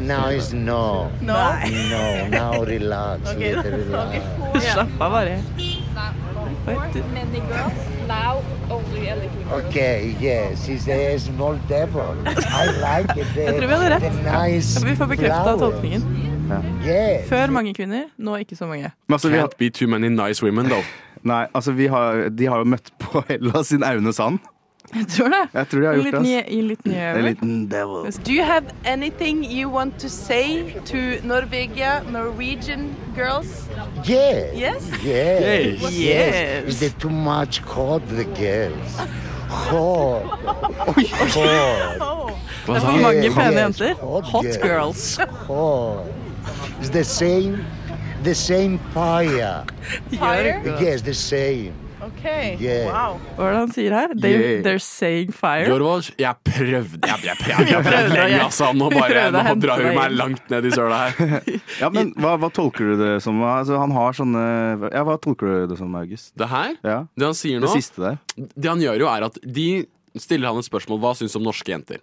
[SPEAKER 23] Now is no.
[SPEAKER 22] No?
[SPEAKER 23] No, now relax.
[SPEAKER 22] Okay,
[SPEAKER 23] little relax.
[SPEAKER 16] Slapp av, bare.
[SPEAKER 1] Many girls, now only a little girl.
[SPEAKER 23] Okay, yes, he's a small devil. I like it.
[SPEAKER 16] Jeg tror vi hadde rett.
[SPEAKER 23] The nice
[SPEAKER 16] vi får bekrefta
[SPEAKER 23] flowers.
[SPEAKER 16] tolkningen. Før mange kvinner, nå ikke så mange.
[SPEAKER 20] Men altså, vi har-
[SPEAKER 19] Can't be too many nice women, though.
[SPEAKER 20] Nei, altså vi har, de har jo møtt på Hellas sin Aune Sand.
[SPEAKER 16] Jeg tror det.
[SPEAKER 20] Jeg tror de har
[SPEAKER 16] En
[SPEAKER 20] gjort
[SPEAKER 16] liten
[SPEAKER 20] det. er
[SPEAKER 16] je- en liten
[SPEAKER 20] ass.
[SPEAKER 16] jævel.
[SPEAKER 20] En liten devil.
[SPEAKER 22] Do you have anything you want to say to Norvegia, Norwegian girls?
[SPEAKER 23] Yeah.
[SPEAKER 22] Yes?
[SPEAKER 23] Yes.
[SPEAKER 22] Yes.
[SPEAKER 23] Yes. Is it too much hot, the girls? Hot. Hot.
[SPEAKER 16] Det er for mange
[SPEAKER 23] Yes,
[SPEAKER 16] pene
[SPEAKER 23] yes,
[SPEAKER 16] jenter. Hot girls.
[SPEAKER 23] Hot. It's the same, the same fire.
[SPEAKER 22] Fire?
[SPEAKER 23] Yes, the same.
[SPEAKER 22] Okay.
[SPEAKER 23] Yeah.
[SPEAKER 22] Wow.
[SPEAKER 16] Hva er det han sier her? They,
[SPEAKER 19] Yeah.
[SPEAKER 16] They're saying fire.
[SPEAKER 19] Jorgos, jeg prøvde Jeg, jeg, jeg, jeg prøvde lenge, altså. Nå,
[SPEAKER 16] Vi
[SPEAKER 19] bare,
[SPEAKER 16] prøvde å
[SPEAKER 19] nå
[SPEAKER 16] hente
[SPEAKER 19] drar
[SPEAKER 16] deg
[SPEAKER 19] hun meg
[SPEAKER 16] inn.
[SPEAKER 19] langt ned i søla her.
[SPEAKER 20] Ja, men hva, hva tolker du det som? Altså, han har sånne Ja, hva tolker du det som, August?
[SPEAKER 19] Det her,
[SPEAKER 20] Ja.
[SPEAKER 19] det han sier nå
[SPEAKER 20] Det siste der.
[SPEAKER 19] Det han gjør jo er at de stiller han et spørsmål Hva synes du om norske jenter?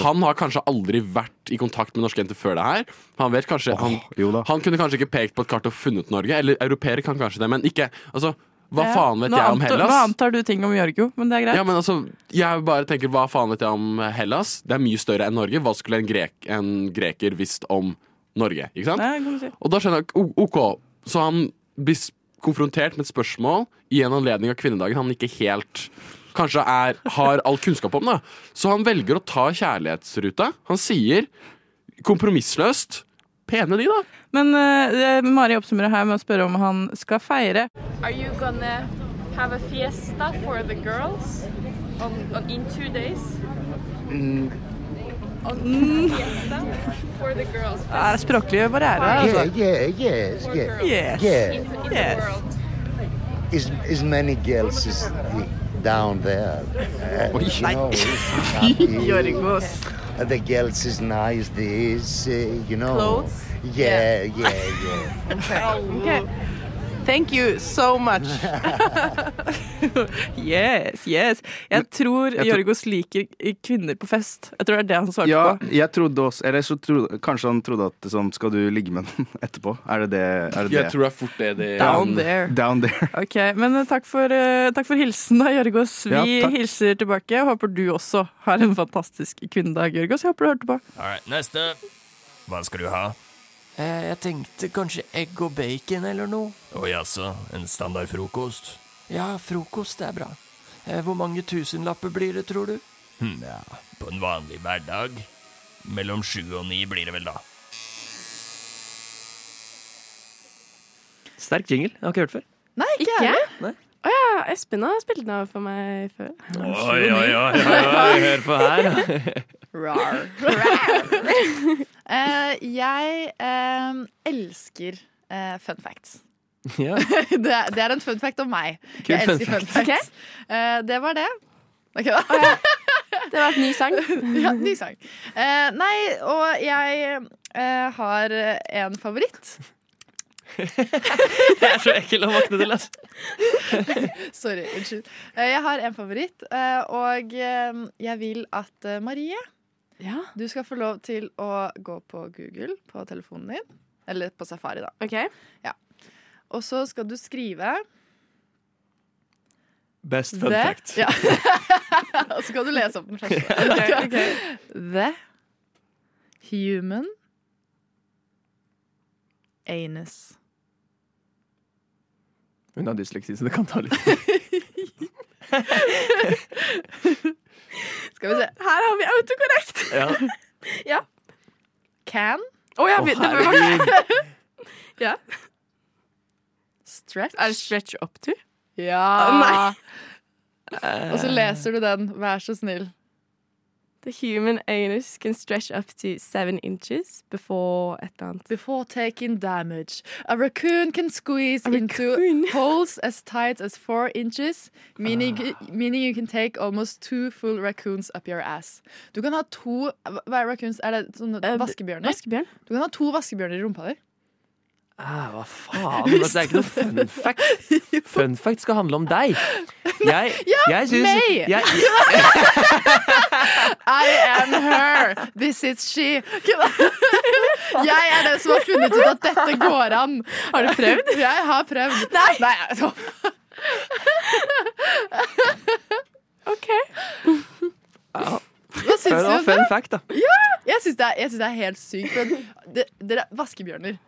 [SPEAKER 19] Han har kanskje aldri vært i kontakt med norske jenter før det her Han vet kanskje han, han kunne kanskje ikke pekt på et kart og funnet Norge Eller europeere kan kanskje det, men ikke Altså, hva
[SPEAKER 16] Ja.
[SPEAKER 19] faen vet
[SPEAKER 16] Nå
[SPEAKER 19] jeg om
[SPEAKER 16] antar-
[SPEAKER 19] Hellas?
[SPEAKER 16] Nå antar du ting om Jorgo, men det er greit.
[SPEAKER 19] Ja, men altså, jeg bare tenker, hva faen vet jeg om Hellas? Det er mye større enn Norge. Hva skulle en, grek, en greker visst om Norge? Ikke sant?
[SPEAKER 16] Nei, det kan du si.
[SPEAKER 19] Og da skjønner jeg, o- ok, så han blir s- konfrontert med et spørsmål i en anledning av kvinnedagen han ikke helt kanskje er, har all kunnskap om. da. Så han velger å ta kjærlighetsruta. Han sier kompromissløst Pene de, da.
[SPEAKER 16] Men eh, Mari oppsummerer her med å spørre om han skal feire.
[SPEAKER 1] Are you gonna have a fiesta for the girls on, on in two days?
[SPEAKER 23] Mm,
[SPEAKER 24] Mm.
[SPEAKER 1] On fiesta for the girls.
[SPEAKER 16] Det er språklige barrierer her,
[SPEAKER 23] Yeah,
[SPEAKER 16] altså.
[SPEAKER 23] yeah, yes, yeah.
[SPEAKER 16] Yes.
[SPEAKER 23] Yeah.
[SPEAKER 1] In
[SPEAKER 16] Yes.
[SPEAKER 1] the world.
[SPEAKER 23] Is, is many girls is down there. Uh, you know, is happy. Uh, the girls is nice, this, uh, you know.
[SPEAKER 22] Clothes?
[SPEAKER 23] Yeah, yeah, yeah.
[SPEAKER 22] Okay. okay. Thank you so much.
[SPEAKER 16] Yes, yes. Jeg tror
[SPEAKER 20] jeg tror-
[SPEAKER 16] Jorgos liker kvinner på fest. Jeg tror det er det han svarte
[SPEAKER 20] Ja,
[SPEAKER 16] på.
[SPEAKER 20] jeg trodde også Eller så trodde, kanskje han trodde at sånn, Skal du ligge med den etterpå? Er det det? Er det
[SPEAKER 19] Jeg
[SPEAKER 20] det?
[SPEAKER 19] tror det er fort det det-
[SPEAKER 16] Down there.
[SPEAKER 20] Down there.
[SPEAKER 16] Ok, men eh, takk for, eh, takk for hilsen da, Jorgos. Vi
[SPEAKER 20] Ja, takk.
[SPEAKER 16] hilser tilbake. Håper du også har en fantastisk kvinnedag, Jorgos. Jeg håper du hørte på.
[SPEAKER 5] Alright, neste. Hva skal du ha?
[SPEAKER 6] Eh, Jeg tenkte kanskje egg og bacon eller noe.
[SPEAKER 5] Å jaså, en standard frokost?
[SPEAKER 6] Ja, frokost det er bra. Eh, Hvor mange tusenlapper blir det, tror du?
[SPEAKER 5] Hm, ja, på en vanlig hverdag. Mellom sju og ni blir det vel, da.
[SPEAKER 25] Sterk jingle. Jeg har ikke hørt før.
[SPEAKER 24] Nei, ikke jeg. Å ja, Espen har spilt den av for meg før.
[SPEAKER 25] Oi, oi, oi, oi, hør på her.
[SPEAKER 24] Rar. Eh, jeg eh, elsker eh, fun facts.
[SPEAKER 25] Ja.
[SPEAKER 24] det, er, det er en fun fact om meg.
[SPEAKER 25] Kul
[SPEAKER 24] jeg
[SPEAKER 25] fun
[SPEAKER 24] elsker fun facts.
[SPEAKER 25] fact.
[SPEAKER 24] Eh, det var det. Ok, da. det var en ny sang. ja, ny sang. Eh, nei, og jeg eh, har en favoritt.
[SPEAKER 25] Jeg er så ekkel å våkne til, altså.
[SPEAKER 24] Sorry, unnskyld. Eh, Jeg har en favoritt, eh, og eh, jeg vil at eh, Marie, du skal få lov til å gå på Google på telefonen din. Eller på Safari, da. Ja. Og så skal du skrive
[SPEAKER 25] Best fun
[SPEAKER 24] the-
[SPEAKER 25] fact.
[SPEAKER 24] Ja. og så kan du lese opp den første.
[SPEAKER 25] Ok,
[SPEAKER 24] The human anus.
[SPEAKER 25] Hun har dysleksi, så det kan ta litt
[SPEAKER 24] Skal vi se. Her har vi autokorrekt!
[SPEAKER 25] Ja.
[SPEAKER 24] Can.
[SPEAKER 25] Å,
[SPEAKER 24] ja,
[SPEAKER 25] vi- det var- herregud.
[SPEAKER 24] ja. stretch.
[SPEAKER 22] Er det stretch up to?
[SPEAKER 24] Ja! Eh.
[SPEAKER 22] Nei.
[SPEAKER 24] Og
[SPEAKER 25] Eh.
[SPEAKER 24] så leser du den, vær så snill.
[SPEAKER 11] The human anus can stretch up to seven inches before et eller annet.
[SPEAKER 24] Before taking damage, a raccoon can squeeze into holes as tight as four inches, meaning,
[SPEAKER 22] Ah.
[SPEAKER 24] meaning you can take almost two full raccoons up your ass. Du kan ha to hva er raccoons? Er det sånne
[SPEAKER 22] Eh,
[SPEAKER 24] vaskebjørner?
[SPEAKER 11] vaskebjørn.
[SPEAKER 24] Du kan ha to vaskebjørner i rumpa di.
[SPEAKER 7] Ah, hva faen? Men det er ikke noe fun fact. Fun fact skal handle om deg. Jeg, jeg synes-
[SPEAKER 24] meg!
[SPEAKER 7] Jeg,
[SPEAKER 24] I am her! This is she! Jeg er den som har funnet ut at dette går an.
[SPEAKER 22] Har du prøvd?
[SPEAKER 24] Jeg har prøvd. Nei!
[SPEAKER 7] ja.
[SPEAKER 24] Hva syns
[SPEAKER 7] Fun,
[SPEAKER 24] du om
[SPEAKER 7] fun
[SPEAKER 24] det?
[SPEAKER 7] fact, da.
[SPEAKER 24] Ja, jeg syns det, er- jeg syns det er helt sykt. Men det, dere er vaskebjørner.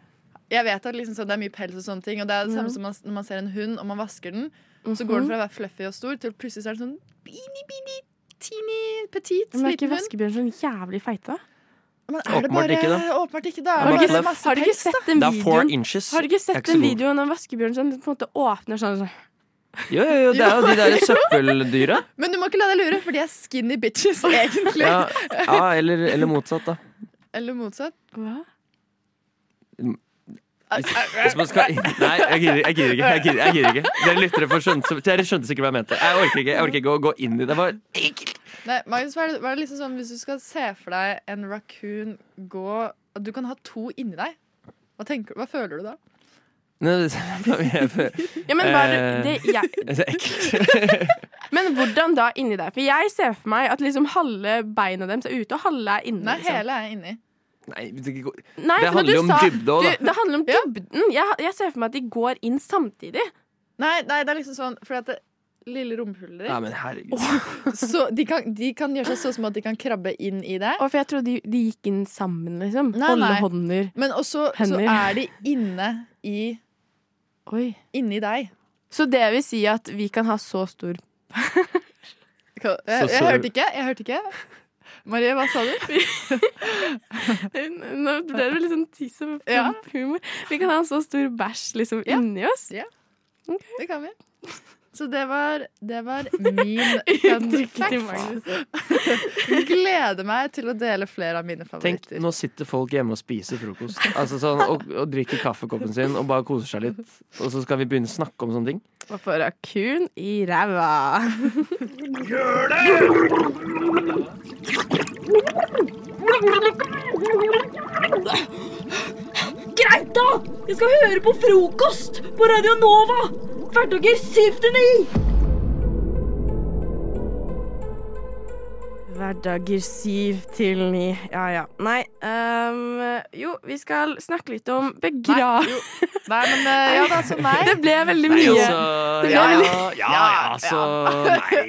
[SPEAKER 24] Jeg vet at liksom, sånn, det er mye pels og sånne ting, og det er det samme
[SPEAKER 11] Ja. Mhm.
[SPEAKER 24] som man, når man ser en hund og man vasker den, så går den fra å være fluffy og stor til plutselig så er den sånn bini, bini, teeny, petit,
[SPEAKER 11] Men er
[SPEAKER 24] liten
[SPEAKER 11] ikke
[SPEAKER 24] hund.
[SPEAKER 11] vaskebjørn sånn jævlig feite?
[SPEAKER 24] Men er det
[SPEAKER 7] Åpenbart
[SPEAKER 24] bare
[SPEAKER 7] ikke, da.
[SPEAKER 24] Åpenbart ikke, da.
[SPEAKER 11] Har
[SPEAKER 24] Er
[SPEAKER 11] du
[SPEAKER 24] det
[SPEAKER 11] ikke,
[SPEAKER 24] bare
[SPEAKER 11] sett-
[SPEAKER 24] masse
[SPEAKER 11] har du ikke
[SPEAKER 24] pels, da?
[SPEAKER 11] sett den
[SPEAKER 7] Det er four
[SPEAKER 11] videoen?
[SPEAKER 7] inches.
[SPEAKER 11] Har du ikke
[SPEAKER 7] Det er
[SPEAKER 11] sett
[SPEAKER 7] ikke så
[SPEAKER 11] den
[SPEAKER 7] god.
[SPEAKER 11] videoen av vaskebjørn som på en måte åpner sånn sånn-
[SPEAKER 7] Jo, jo, jo, det er jo de der søppeldyra.
[SPEAKER 24] Men du må ikke la deg lure, for de er skinny bitches, egentlig.
[SPEAKER 7] Ja, ja eller, eller motsatt, da.
[SPEAKER 24] Eller motsatt.
[SPEAKER 11] Hva?
[SPEAKER 7] Hvis man skal Nei, jeg gidder, jeg gidder ikke. Jeg gidder, jeg gidder ikke. Dere lyttere får skjønte, dere skjønte sikkert hva jeg mente. Jeg orker ikke, jeg orker ikke å gå inn i det. Det var-
[SPEAKER 24] Nei, Magnus, var det, var det liksom sånn Hvis du skal se for deg en raccoon gå at Du kan ha to inni deg. Hva, tenker, hva føler du da?
[SPEAKER 11] Ja, men var det- det- jeg-
[SPEAKER 7] Eh, Det er ekkelt.
[SPEAKER 11] Men hvordan da inni deg? For jeg ser for meg at liksom halve beina deres er ute, og halve er inne.
[SPEAKER 24] Nei,
[SPEAKER 11] liksom.
[SPEAKER 24] hele er inni.
[SPEAKER 7] Nei, det går-
[SPEAKER 11] Nei,
[SPEAKER 7] det
[SPEAKER 11] for når
[SPEAKER 7] handler
[SPEAKER 11] du
[SPEAKER 7] jo om
[SPEAKER 11] sa-
[SPEAKER 7] dybde òg,
[SPEAKER 11] du- Det handler om dybden. Jeg, jeg ser for meg at de går inn samtidig.
[SPEAKER 24] Nei, nei, det er liksom sånn Fordi at det lille rumpehullet ditt
[SPEAKER 7] Nei, men herregud.
[SPEAKER 24] så de, kan, de kan gjøre seg så små at de kan krabbe inn i deg.
[SPEAKER 11] for jeg trodde de, gikk inn sammen, liksom.
[SPEAKER 24] Nei,
[SPEAKER 11] Holde
[SPEAKER 24] nei.
[SPEAKER 11] hånder.
[SPEAKER 24] Men også så
[SPEAKER 11] Hender.
[SPEAKER 24] er de inne i Inni deg.
[SPEAKER 11] Så det vil si at vi kan ha så stor
[SPEAKER 24] jeg, jeg,
[SPEAKER 11] så-
[SPEAKER 24] hørte ikke. Jeg hørte ikke. Marie, hva sa du?
[SPEAKER 11] Nå ble det litt sånn tiss og
[SPEAKER 24] Ja.
[SPEAKER 11] plump humor. Vi kan ha en så stor bæsj liksom inni oss.
[SPEAKER 24] Ja. Det kan vi. Så det var, det var min fun
[SPEAKER 11] Uttrykket til
[SPEAKER 24] fact. Gleder meg til å dele flere av mine favoritter.
[SPEAKER 7] Tenk, nå sitter folk hjemme og spiser frokost Altså sånn, og, og drikker kaffekoppen sin og bare koser seg litt. Og så skal vi begynne å snakke om sånne ting.
[SPEAKER 11] Og få rakun i ræva. Gjør det!
[SPEAKER 18] Greit, da! Jeg skal høre på frokost på Radio Nova! Hverdager 7 til 9!
[SPEAKER 11] Hverdager syv til ni. Ja ja. Nei, ehm, jo, vi skal snakke litt om begra... Nei,
[SPEAKER 24] men eh, ja da, så nei.
[SPEAKER 11] Det ble veldig mye.
[SPEAKER 16] er
[SPEAKER 11] det
[SPEAKER 7] altså,
[SPEAKER 11] ble
[SPEAKER 7] ja, ja,
[SPEAKER 11] veldig-
[SPEAKER 7] ja, ja, altså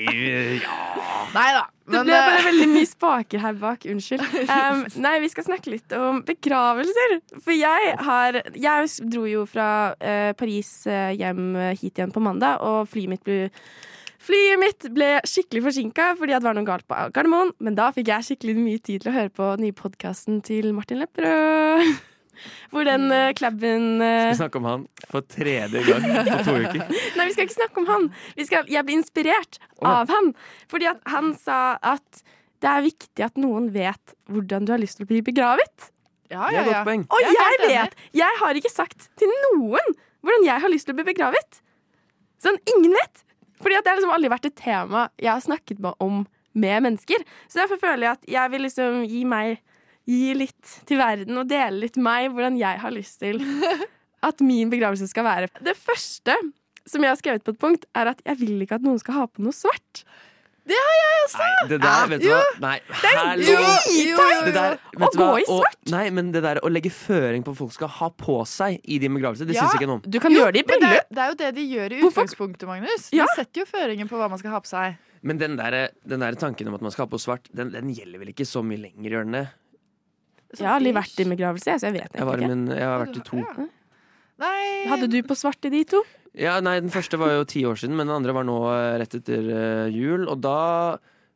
[SPEAKER 7] Nei, ja.
[SPEAKER 24] Neida,
[SPEAKER 11] Det
[SPEAKER 24] men,
[SPEAKER 11] ble bare
[SPEAKER 24] eh,
[SPEAKER 11] veldig mye spaker her bak. Unnskyld.
[SPEAKER 24] Um,
[SPEAKER 11] Ehm, nei, vi skal snakke litt om begravelser. For jeg har Jeg s- dro jo fra eh, Paris eh, hjem eh, hit igjen på mandag, og flyet mitt ble Flyet mitt ble skikkelig forsinka fordi at det var noe galt på Gardermoen, men da fikk jeg skikkelig mye tid til å høre på den nye podkasten til Martin Lepperød. Hvor den uh, klabben eh,
[SPEAKER 7] Vi snakker om han for tredje gang på to uker.
[SPEAKER 11] Nei, vi skal ikke snakke om han. Vi skal, jeg blir inspirert
[SPEAKER 7] Å.
[SPEAKER 11] av han. Fordi at han sa at det er viktig at noen vet hvordan du har lyst til å bli begravet.
[SPEAKER 24] Ja, ja, Det er et ja. godt poeng.
[SPEAKER 11] Og
[SPEAKER 24] Jeg er
[SPEAKER 11] jeg
[SPEAKER 24] helt enig.
[SPEAKER 11] vet! Jeg har ikke sagt til noen hvordan jeg har lyst til å bli begravet. Sånn, ingen vet! Fordi at det har liksom aldri vært et tema jeg har snakket med om med mennesker. Så derfor føler jeg at jeg vil liksom gi meg Gi litt til verden og dele litt meg hvordan jeg har lyst til at min begravelse skal være. Det første som jeg har skrevet på et punkt, er at jeg vil ikke at noen skal ha på noe svart.
[SPEAKER 24] Det har jeg også!
[SPEAKER 7] Det der, vet du hva Nei,
[SPEAKER 11] altså. Det er
[SPEAKER 7] hallo.
[SPEAKER 11] dritteit
[SPEAKER 7] Det der,
[SPEAKER 11] å
[SPEAKER 7] vet du hva?
[SPEAKER 11] gå i
[SPEAKER 7] Og- Nei, men det der å legge føring på at folk skal ha på seg i de begravelser, det syns ikke noe om.
[SPEAKER 24] Jo, men Det, er- det er jo det de gjør i utgangspunktet, Magnus. De setter jo føringer på hva man skal ha på seg.
[SPEAKER 7] Men den der, den der tanken om at man skal ha på svart, den, den gjelder vel ikke så mye lenger, gjør den det?
[SPEAKER 11] Jeg har aldri vært i begravelse, så jeg vet
[SPEAKER 7] Jeg, var, i
[SPEAKER 11] egentlig
[SPEAKER 7] min- jeg har vært i to.
[SPEAKER 11] ikke. Hadde du på svart i de to?
[SPEAKER 7] Ja, nei, Den første var jo ti år siden, men den andre var nå eh, rett etter eh, jul. Og da,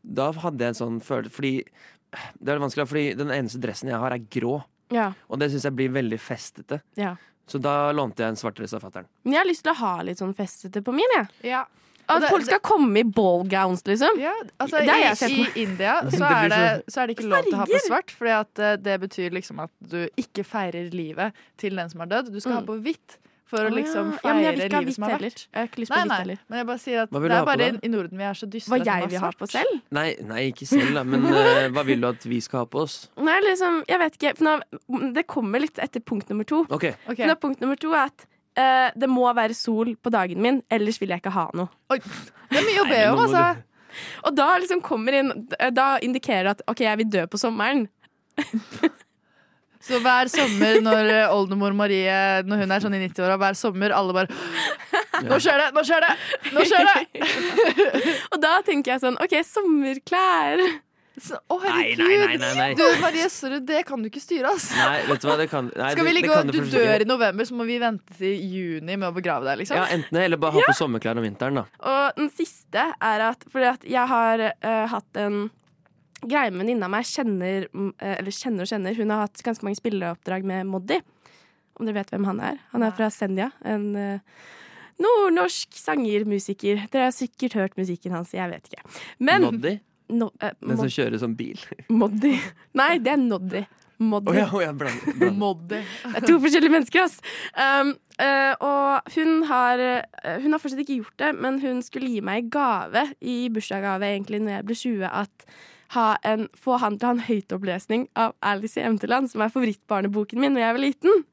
[SPEAKER 7] da hadde jeg en sånn følelse Fordi det er litt vanskelig, da, fordi den eneste dressen jeg har, er grå.
[SPEAKER 11] Ja.
[SPEAKER 7] Og det syns jeg blir veldig festete.
[SPEAKER 11] ja.
[SPEAKER 7] Så da lånte jeg en svartdress av fatter'n.
[SPEAKER 11] Men jeg har lyst til å ha litt sånn festete på min, jeg.
[SPEAKER 24] Ja.
[SPEAKER 11] At
[SPEAKER 24] Og det-
[SPEAKER 11] folk skal komme i ballgowns, liksom.
[SPEAKER 24] Altså,
[SPEAKER 11] det har jeg
[SPEAKER 24] i,
[SPEAKER 11] sett meg.
[SPEAKER 24] I India så er,
[SPEAKER 11] sånn-
[SPEAKER 24] det, så er det ikke lov til å ha på svart, for det betyr liksom at du ikke feirer livet til den som har dødd. Du skal ha på hvitt for
[SPEAKER 11] Mm.
[SPEAKER 24] å
[SPEAKER 11] Å ja.
[SPEAKER 24] liksom
[SPEAKER 11] Ja,
[SPEAKER 24] feire
[SPEAKER 11] men jeg vil ikke ha
[SPEAKER 24] livet som
[SPEAKER 11] hvitt
[SPEAKER 24] har
[SPEAKER 11] heller.
[SPEAKER 24] vært.
[SPEAKER 11] Jeg har ikke lyst på
[SPEAKER 24] nei,
[SPEAKER 11] hvitt
[SPEAKER 24] nei,
[SPEAKER 11] heller.
[SPEAKER 24] Men jeg bare sier at
[SPEAKER 7] Hva vil du
[SPEAKER 24] det
[SPEAKER 7] ha
[SPEAKER 24] er
[SPEAKER 7] på
[SPEAKER 24] bare
[SPEAKER 7] deg?
[SPEAKER 24] i Norden vi er så dystre.
[SPEAKER 11] Hva
[SPEAKER 24] at man
[SPEAKER 11] jeg vil ha
[SPEAKER 24] svart.
[SPEAKER 11] på selv?
[SPEAKER 7] Nei, nei, ikke selv, da, men eh, hva vil du at vi skal ha på oss?
[SPEAKER 11] Nei, liksom, jeg vet ikke. For nå, det kommer litt etter punkt nummer to.
[SPEAKER 7] Ok.
[SPEAKER 11] For Nå, punkt nummer to er at eh, det må være sol på dagen min, ellers vil jeg ikke ha noe.
[SPEAKER 24] Det er mye å be
[SPEAKER 11] Nei, men
[SPEAKER 24] om,
[SPEAKER 11] nå må
[SPEAKER 24] altså.
[SPEAKER 11] Og da liksom kommer inn Da indikerer det at OK, jeg vil dø på sommeren.
[SPEAKER 24] Så hver sommer når eh, oldemor Marie Når hun er sånn i 90-åra, hver sommer alle bare Nå skjer det! Nå skjer det! Nå skjer det!
[SPEAKER 11] Og da tenker jeg sånn OK, sommerklær.
[SPEAKER 24] Så, å,
[SPEAKER 7] Nei,
[SPEAKER 24] herregud!
[SPEAKER 7] nei, nei, nei, nei.
[SPEAKER 24] Du, Marie, sorry, det kan du ikke styre, ass.
[SPEAKER 7] Nei, vet du hva, det kan nei,
[SPEAKER 24] Skal vi
[SPEAKER 7] det- det
[SPEAKER 24] ligge
[SPEAKER 7] kan
[SPEAKER 24] og
[SPEAKER 7] du
[SPEAKER 24] du
[SPEAKER 7] faktisk
[SPEAKER 24] dør
[SPEAKER 7] ikke.
[SPEAKER 24] i november, så må vi vente til juni med å begrave deg, liksom?
[SPEAKER 7] Ja, enten det, eller bare ha på sommerklær om vinteren, da.
[SPEAKER 11] Og den siste er at Fordi at jeg har eh, hatt en greie med en venninne av meg kjenner, mm, eh, Eller kjenner og kjenner Hun har hatt ganske mange spilleoppdrag med Moddi. Om dere vet hvem han er. Han er fra Senja. En eh, nordnorsk sanger, musiker. Dere har sikkert hørt musikken hans, jeg vet ikke. Men
[SPEAKER 7] Noddy?
[SPEAKER 11] No, eh,
[SPEAKER 7] Den som
[SPEAKER 11] Mod-
[SPEAKER 7] kjører sånn bil.
[SPEAKER 11] Moddi. Nei, det er Noddi. Moddi.
[SPEAKER 7] Å ja, å ja, bland- bland-
[SPEAKER 11] Det er to forskjellige mennesker, ass. Um, eh, og hun har, eh, hun har fortsatt ikke gjort det, men hun skulle gi meg i gave i bursdagsgave egentlig når jeg ble 20, at ha en, få han til å ha en høytopplesning av Alice i Eventyrland, som er favorittbarneboken min når jeg var liten.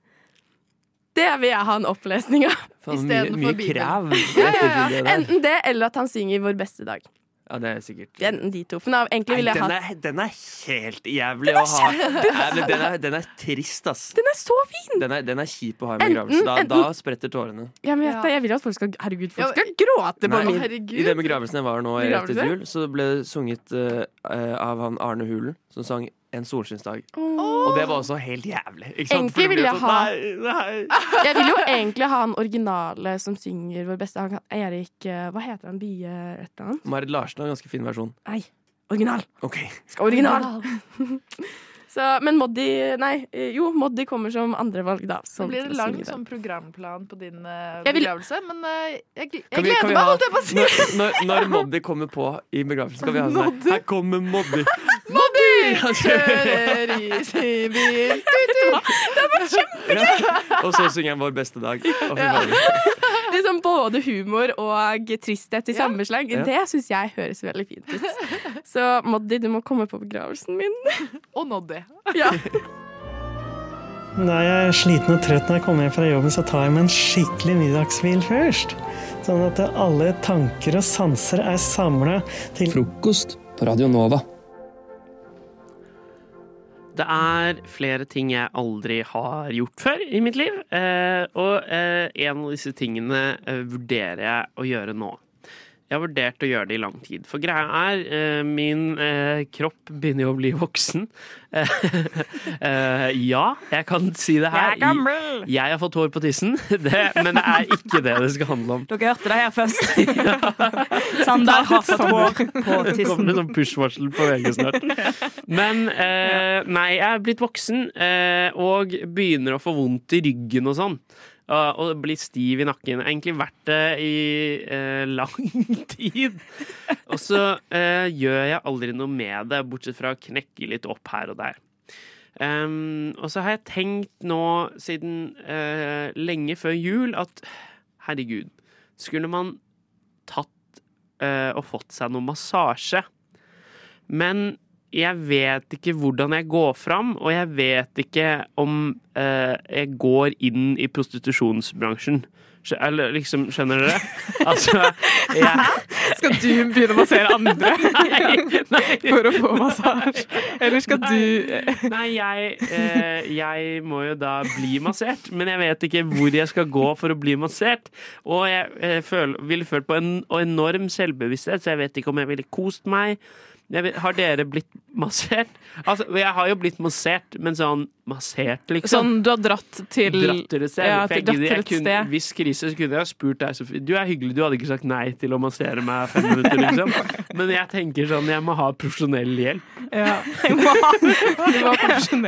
[SPEAKER 11] Det vil jeg ha en opplesning av.
[SPEAKER 7] Faen, mye-
[SPEAKER 11] Istedenfor
[SPEAKER 7] mye
[SPEAKER 11] Bibelen.
[SPEAKER 7] krav.
[SPEAKER 11] Ja, ja,
[SPEAKER 7] Det
[SPEAKER 11] ja.
[SPEAKER 7] der.
[SPEAKER 11] Enten det, eller at han synger Vår beste dag.
[SPEAKER 7] Ja, det er sikkert
[SPEAKER 11] Enten de to. For nå, egentlig ville
[SPEAKER 7] Nei,
[SPEAKER 11] jeg
[SPEAKER 7] den,
[SPEAKER 11] hatt
[SPEAKER 7] er, den er helt jævlig
[SPEAKER 11] Den er
[SPEAKER 7] å ha.
[SPEAKER 11] kjempe-
[SPEAKER 7] Nei, men den, er, den er trist, ass.
[SPEAKER 11] Den er så fin!
[SPEAKER 7] Den er, den er kjip å ha i
[SPEAKER 11] Enten-
[SPEAKER 7] begravelse. Da, da
[SPEAKER 11] enten-
[SPEAKER 7] spretter tårene.
[SPEAKER 11] ja, men, vet du, Jeg vil at folk skal Herregud, folk
[SPEAKER 24] Ja,
[SPEAKER 11] skal gråte på
[SPEAKER 7] Nei,
[SPEAKER 11] min.
[SPEAKER 7] I den begravelsen jeg var nå rett etter
[SPEAKER 11] Begravelse?
[SPEAKER 7] jul, så ble det sunget eh, eh, av han Arne Hulen, som sang En solskinnsdag.
[SPEAKER 11] Åh.
[SPEAKER 7] Og det var også helt jævlig. Ikke sant? For det ble
[SPEAKER 11] Egentlig ville jeg
[SPEAKER 7] sånn,
[SPEAKER 11] ha
[SPEAKER 7] Nei,
[SPEAKER 11] Jeg vil jo egentlig ha han originale som synger vår beste han, kan- Erik eh, Hva heter han? Bie et eller annet?
[SPEAKER 7] Marit Larsen har en ganske fin versjon.
[SPEAKER 11] Nei. Original!
[SPEAKER 7] Ok.
[SPEAKER 11] Skal original! Så, men Moddi Nei, eh, jo, Moddi kommer som andrevalg, da.
[SPEAKER 24] Så
[SPEAKER 11] Som
[SPEAKER 24] blir det
[SPEAKER 11] til å
[SPEAKER 24] lang
[SPEAKER 11] synge den.
[SPEAKER 24] sånn programplan på din eh,
[SPEAKER 11] Jeg vil-
[SPEAKER 24] begravelse, men eh, jeg, gl-
[SPEAKER 7] Kan
[SPEAKER 24] jeg
[SPEAKER 7] vi- kan
[SPEAKER 24] gleder
[SPEAKER 7] vi
[SPEAKER 24] meg,
[SPEAKER 7] ha-
[SPEAKER 24] holdt jeg på å si!
[SPEAKER 7] Når, når, når Moddi kommer på i begravelsen, skal vi ha sånn her. Her kommer Moddi!
[SPEAKER 24] Moddi kjører i sin bil Det
[SPEAKER 11] var
[SPEAKER 7] Ja. Og så synger han Vår beste dag. Å, fy faen.
[SPEAKER 11] Liksom både humor og tristhet i samme slag.
[SPEAKER 7] Ja.
[SPEAKER 11] Det syns jeg høres veldig fint ut. Så Moddi, du må komme på begravelsen min.
[SPEAKER 24] Og Noddi.
[SPEAKER 11] Ja.
[SPEAKER 6] Når jeg er sliten og trøtt når jeg kommer hjem fra jobben, så tar jeg meg en skikkelig middagshvil først. Sånn at alle tanker og sanser er samla til
[SPEAKER 26] Frokost på Radio Nova.
[SPEAKER 13] Det er flere ting jeg aldri har gjort før i mitt liv. eh, Og eh, en av disse tingene eh, vurderer jeg å gjøre nå. Jeg har vurdert å gjøre det i lang tid. For greia er, eh, min eh, kropp begynner jo å bli voksen. Eh, ja, jeg kan si det her.
[SPEAKER 9] Jeg er gammel!
[SPEAKER 13] Jeg har fått hår på tissen, det, men det er ikke det det skal handle om.
[SPEAKER 9] Dere hørte det her først. Sander har fått hår på
[SPEAKER 13] Kommer det
[SPEAKER 9] tissen.
[SPEAKER 13] sånn push-varsel på VG snart. Men eh, nei, jeg er blitt voksen eh, og begynner å få vondt i ryggen og sånn. Og og bli stiv i nakken. Jeg har egentlig vært det i eh, lang tid. Og så eh, gjør jeg aldri noe med det, bortsett fra å knekke litt opp her og der. Ehm, og så har jeg tenkt nå, siden eh, lenge før jul, at herregud, skulle man tatt eh, og fått seg noe massasje? Men jeg vet ikke hvordan jeg går fram, og jeg vet ikke om eh, jeg går inn i prostitusjonsbransjen. Skj- Eller liksom, skjønner dere? Altså,
[SPEAKER 9] Skal du begynne å massere andre for å få massasje? Eller skal
[SPEAKER 13] du Nei, jeg, eh, jeg må jo da bli massert, men jeg vet ikke hvor jeg skal gå for å bli massert. Og jeg eh, føl, ville følt på en enorm selvbevissthet, så jeg vet ikke om jeg ville kost meg. Jeg vet, har dere blitt massert? Altså, jeg har jo blitt massert, men sånn massert, liksom.
[SPEAKER 9] Sånn du har dratt til
[SPEAKER 13] Dratt til et sted.
[SPEAKER 9] Ja,
[SPEAKER 13] for jeg
[SPEAKER 9] dratt
[SPEAKER 13] gidder-
[SPEAKER 9] til
[SPEAKER 13] jeg
[SPEAKER 9] et
[SPEAKER 13] kunne,
[SPEAKER 9] sted.
[SPEAKER 13] hvis krise, så kunne jeg spurt deg, Sofie. Du er hyggelig, du hadde ikke sagt nei til å massere meg fem minutter, liksom. Men jeg tenker sånn, jeg må ha profesjonell hjelp.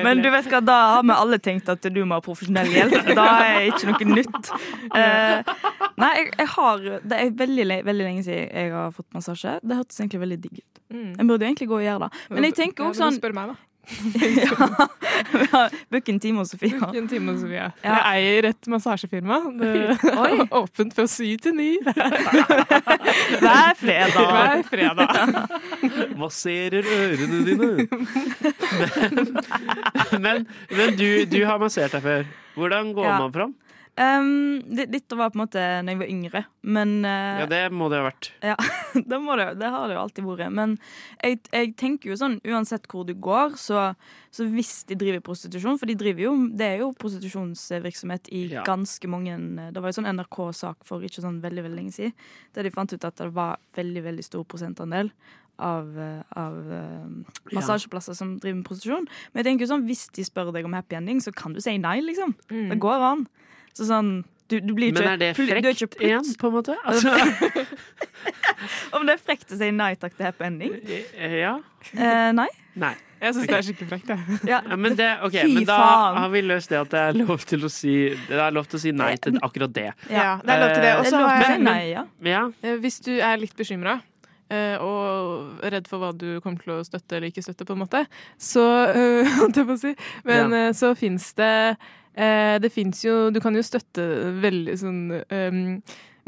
[SPEAKER 10] Men du vet hva, da har vi alle tenkt at du må ha profesjonell hjelp. Da er ikke noe nytt. Eh, nei, jeg, jeg har Det er veldig, le- veldig lenge siden jeg har fått massasje. Det hørtes egentlig veldig digg ut.
[SPEAKER 9] Mm.
[SPEAKER 10] Jeg burde jo egentlig gå og gjøre det. Men jeg tenker
[SPEAKER 9] Ja,
[SPEAKER 10] også
[SPEAKER 9] Du må
[SPEAKER 10] sånn
[SPEAKER 9] spørre meg, da.
[SPEAKER 10] ja, Book en time hos Sofia.
[SPEAKER 9] Book en time hos Sofia.
[SPEAKER 10] Ja.
[SPEAKER 9] Jeg eier et massasjefirma. Det
[SPEAKER 10] Oi.
[SPEAKER 9] er åpent fra syv til ni.
[SPEAKER 10] Hver fredag.
[SPEAKER 9] Hver fredag.
[SPEAKER 13] Masserer ørene dine. Men, men, men du, du har massert deg før. Hvordan går
[SPEAKER 10] Ja.
[SPEAKER 13] man fram?
[SPEAKER 10] Um, det- dette var på en måte når jeg var yngre, men eh,
[SPEAKER 13] Ja, det må det ha vært.
[SPEAKER 10] Ja, det, må det, jo- det har det jo alltid vært. Men jeg, jeg tenker jo sånn, uansett hvor du går, så, så hvis de driver prostitusjon For de driver jo, det er jo prostitusjonsvirksomhet i
[SPEAKER 11] Ja.
[SPEAKER 10] ganske mange Det var jo sånn NRK-sak for ikke sånn veldig veldig lenge siden, der de fant ut at det var veldig veldig stor prosentandel av, eh, av eh,
[SPEAKER 11] Ja.
[SPEAKER 10] massasjeplasser som driver med prostitusjon. Men jeg tenker jo sånn, hvis de spør deg om happy ending, så kan du si nei, liksom.
[SPEAKER 4] Mm.
[SPEAKER 10] Det går an. Så sånn du, du blir ikke,
[SPEAKER 13] Mm. Men er det
[SPEAKER 10] pl- du er ikke
[SPEAKER 13] frekt igjen,
[SPEAKER 10] plut-
[SPEAKER 13] på en måte? Altså-
[SPEAKER 10] om det er frekt å si nei takk til happy ending?
[SPEAKER 13] eh, Ja.
[SPEAKER 10] Eh, nei.
[SPEAKER 13] Nei.
[SPEAKER 9] Jeg syns
[SPEAKER 13] Ok.
[SPEAKER 9] det er skikkelig frekt, jeg.
[SPEAKER 13] Ja, men, det, ok,
[SPEAKER 9] Fy
[SPEAKER 13] men da
[SPEAKER 9] faen.
[SPEAKER 13] har vi løst det at det er lov til å si, det er lov til å si nei til akkurat det.
[SPEAKER 9] Ja, det er lov til det. Og så
[SPEAKER 13] Eh,
[SPEAKER 9] har jeg-
[SPEAKER 13] men- Ja.
[SPEAKER 9] Eh, Hvis du er litt bekymra og redd for hva du kommer til å støtte eller ikke støtte, på en måte, så eh, holdt jeg på å si. Men
[SPEAKER 11] Ja.
[SPEAKER 9] eh, så fins det eh, Det fins jo Du kan jo støtte veldig sånn ehm,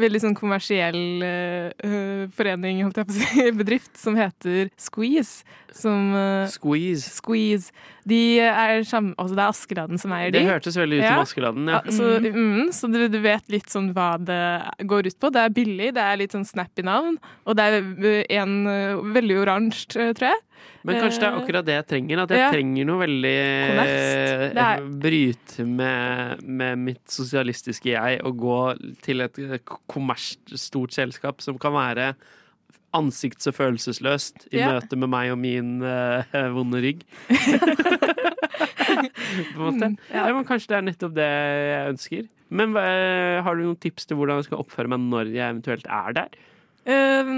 [SPEAKER 9] Veldig sånn kommersiell eh, eh, forening, holdt jeg på å si, bedrift, som heter Squeeze. Som eh,
[SPEAKER 13] Squeeze.
[SPEAKER 9] De er samme Altså, det er Askeladden som eier de.
[SPEAKER 13] Det hørtes veldig ut som Askeladden, ja.
[SPEAKER 9] Så, mm, så du, du vet litt sånn hva det går ut på. Det er billig, det er litt sånn snappy navn, og det er eh, en eh, veldig oransje, eh, tror jeg.
[SPEAKER 13] Men kanskje det er
[SPEAKER 9] Eh,
[SPEAKER 13] akkurat det jeg trenger. At jeg
[SPEAKER 9] ja.
[SPEAKER 13] trenger noe veldig eh,
[SPEAKER 9] Kommerst. Det er-
[SPEAKER 13] Bryte med, med mitt sosialistiske jeg og gå til et eh, k- kommerst stort selskap som kan være ansikts- og følelsesløst i
[SPEAKER 9] Ja.
[SPEAKER 13] møte med meg og min eh, vonde rygg. På en
[SPEAKER 9] Mm,
[SPEAKER 13] måte. Ja. men kanskje det er nettopp det jeg ønsker. Men eh, har du noen tips til hvordan jeg skal oppføre meg når jeg eventuelt er der?
[SPEAKER 9] eh,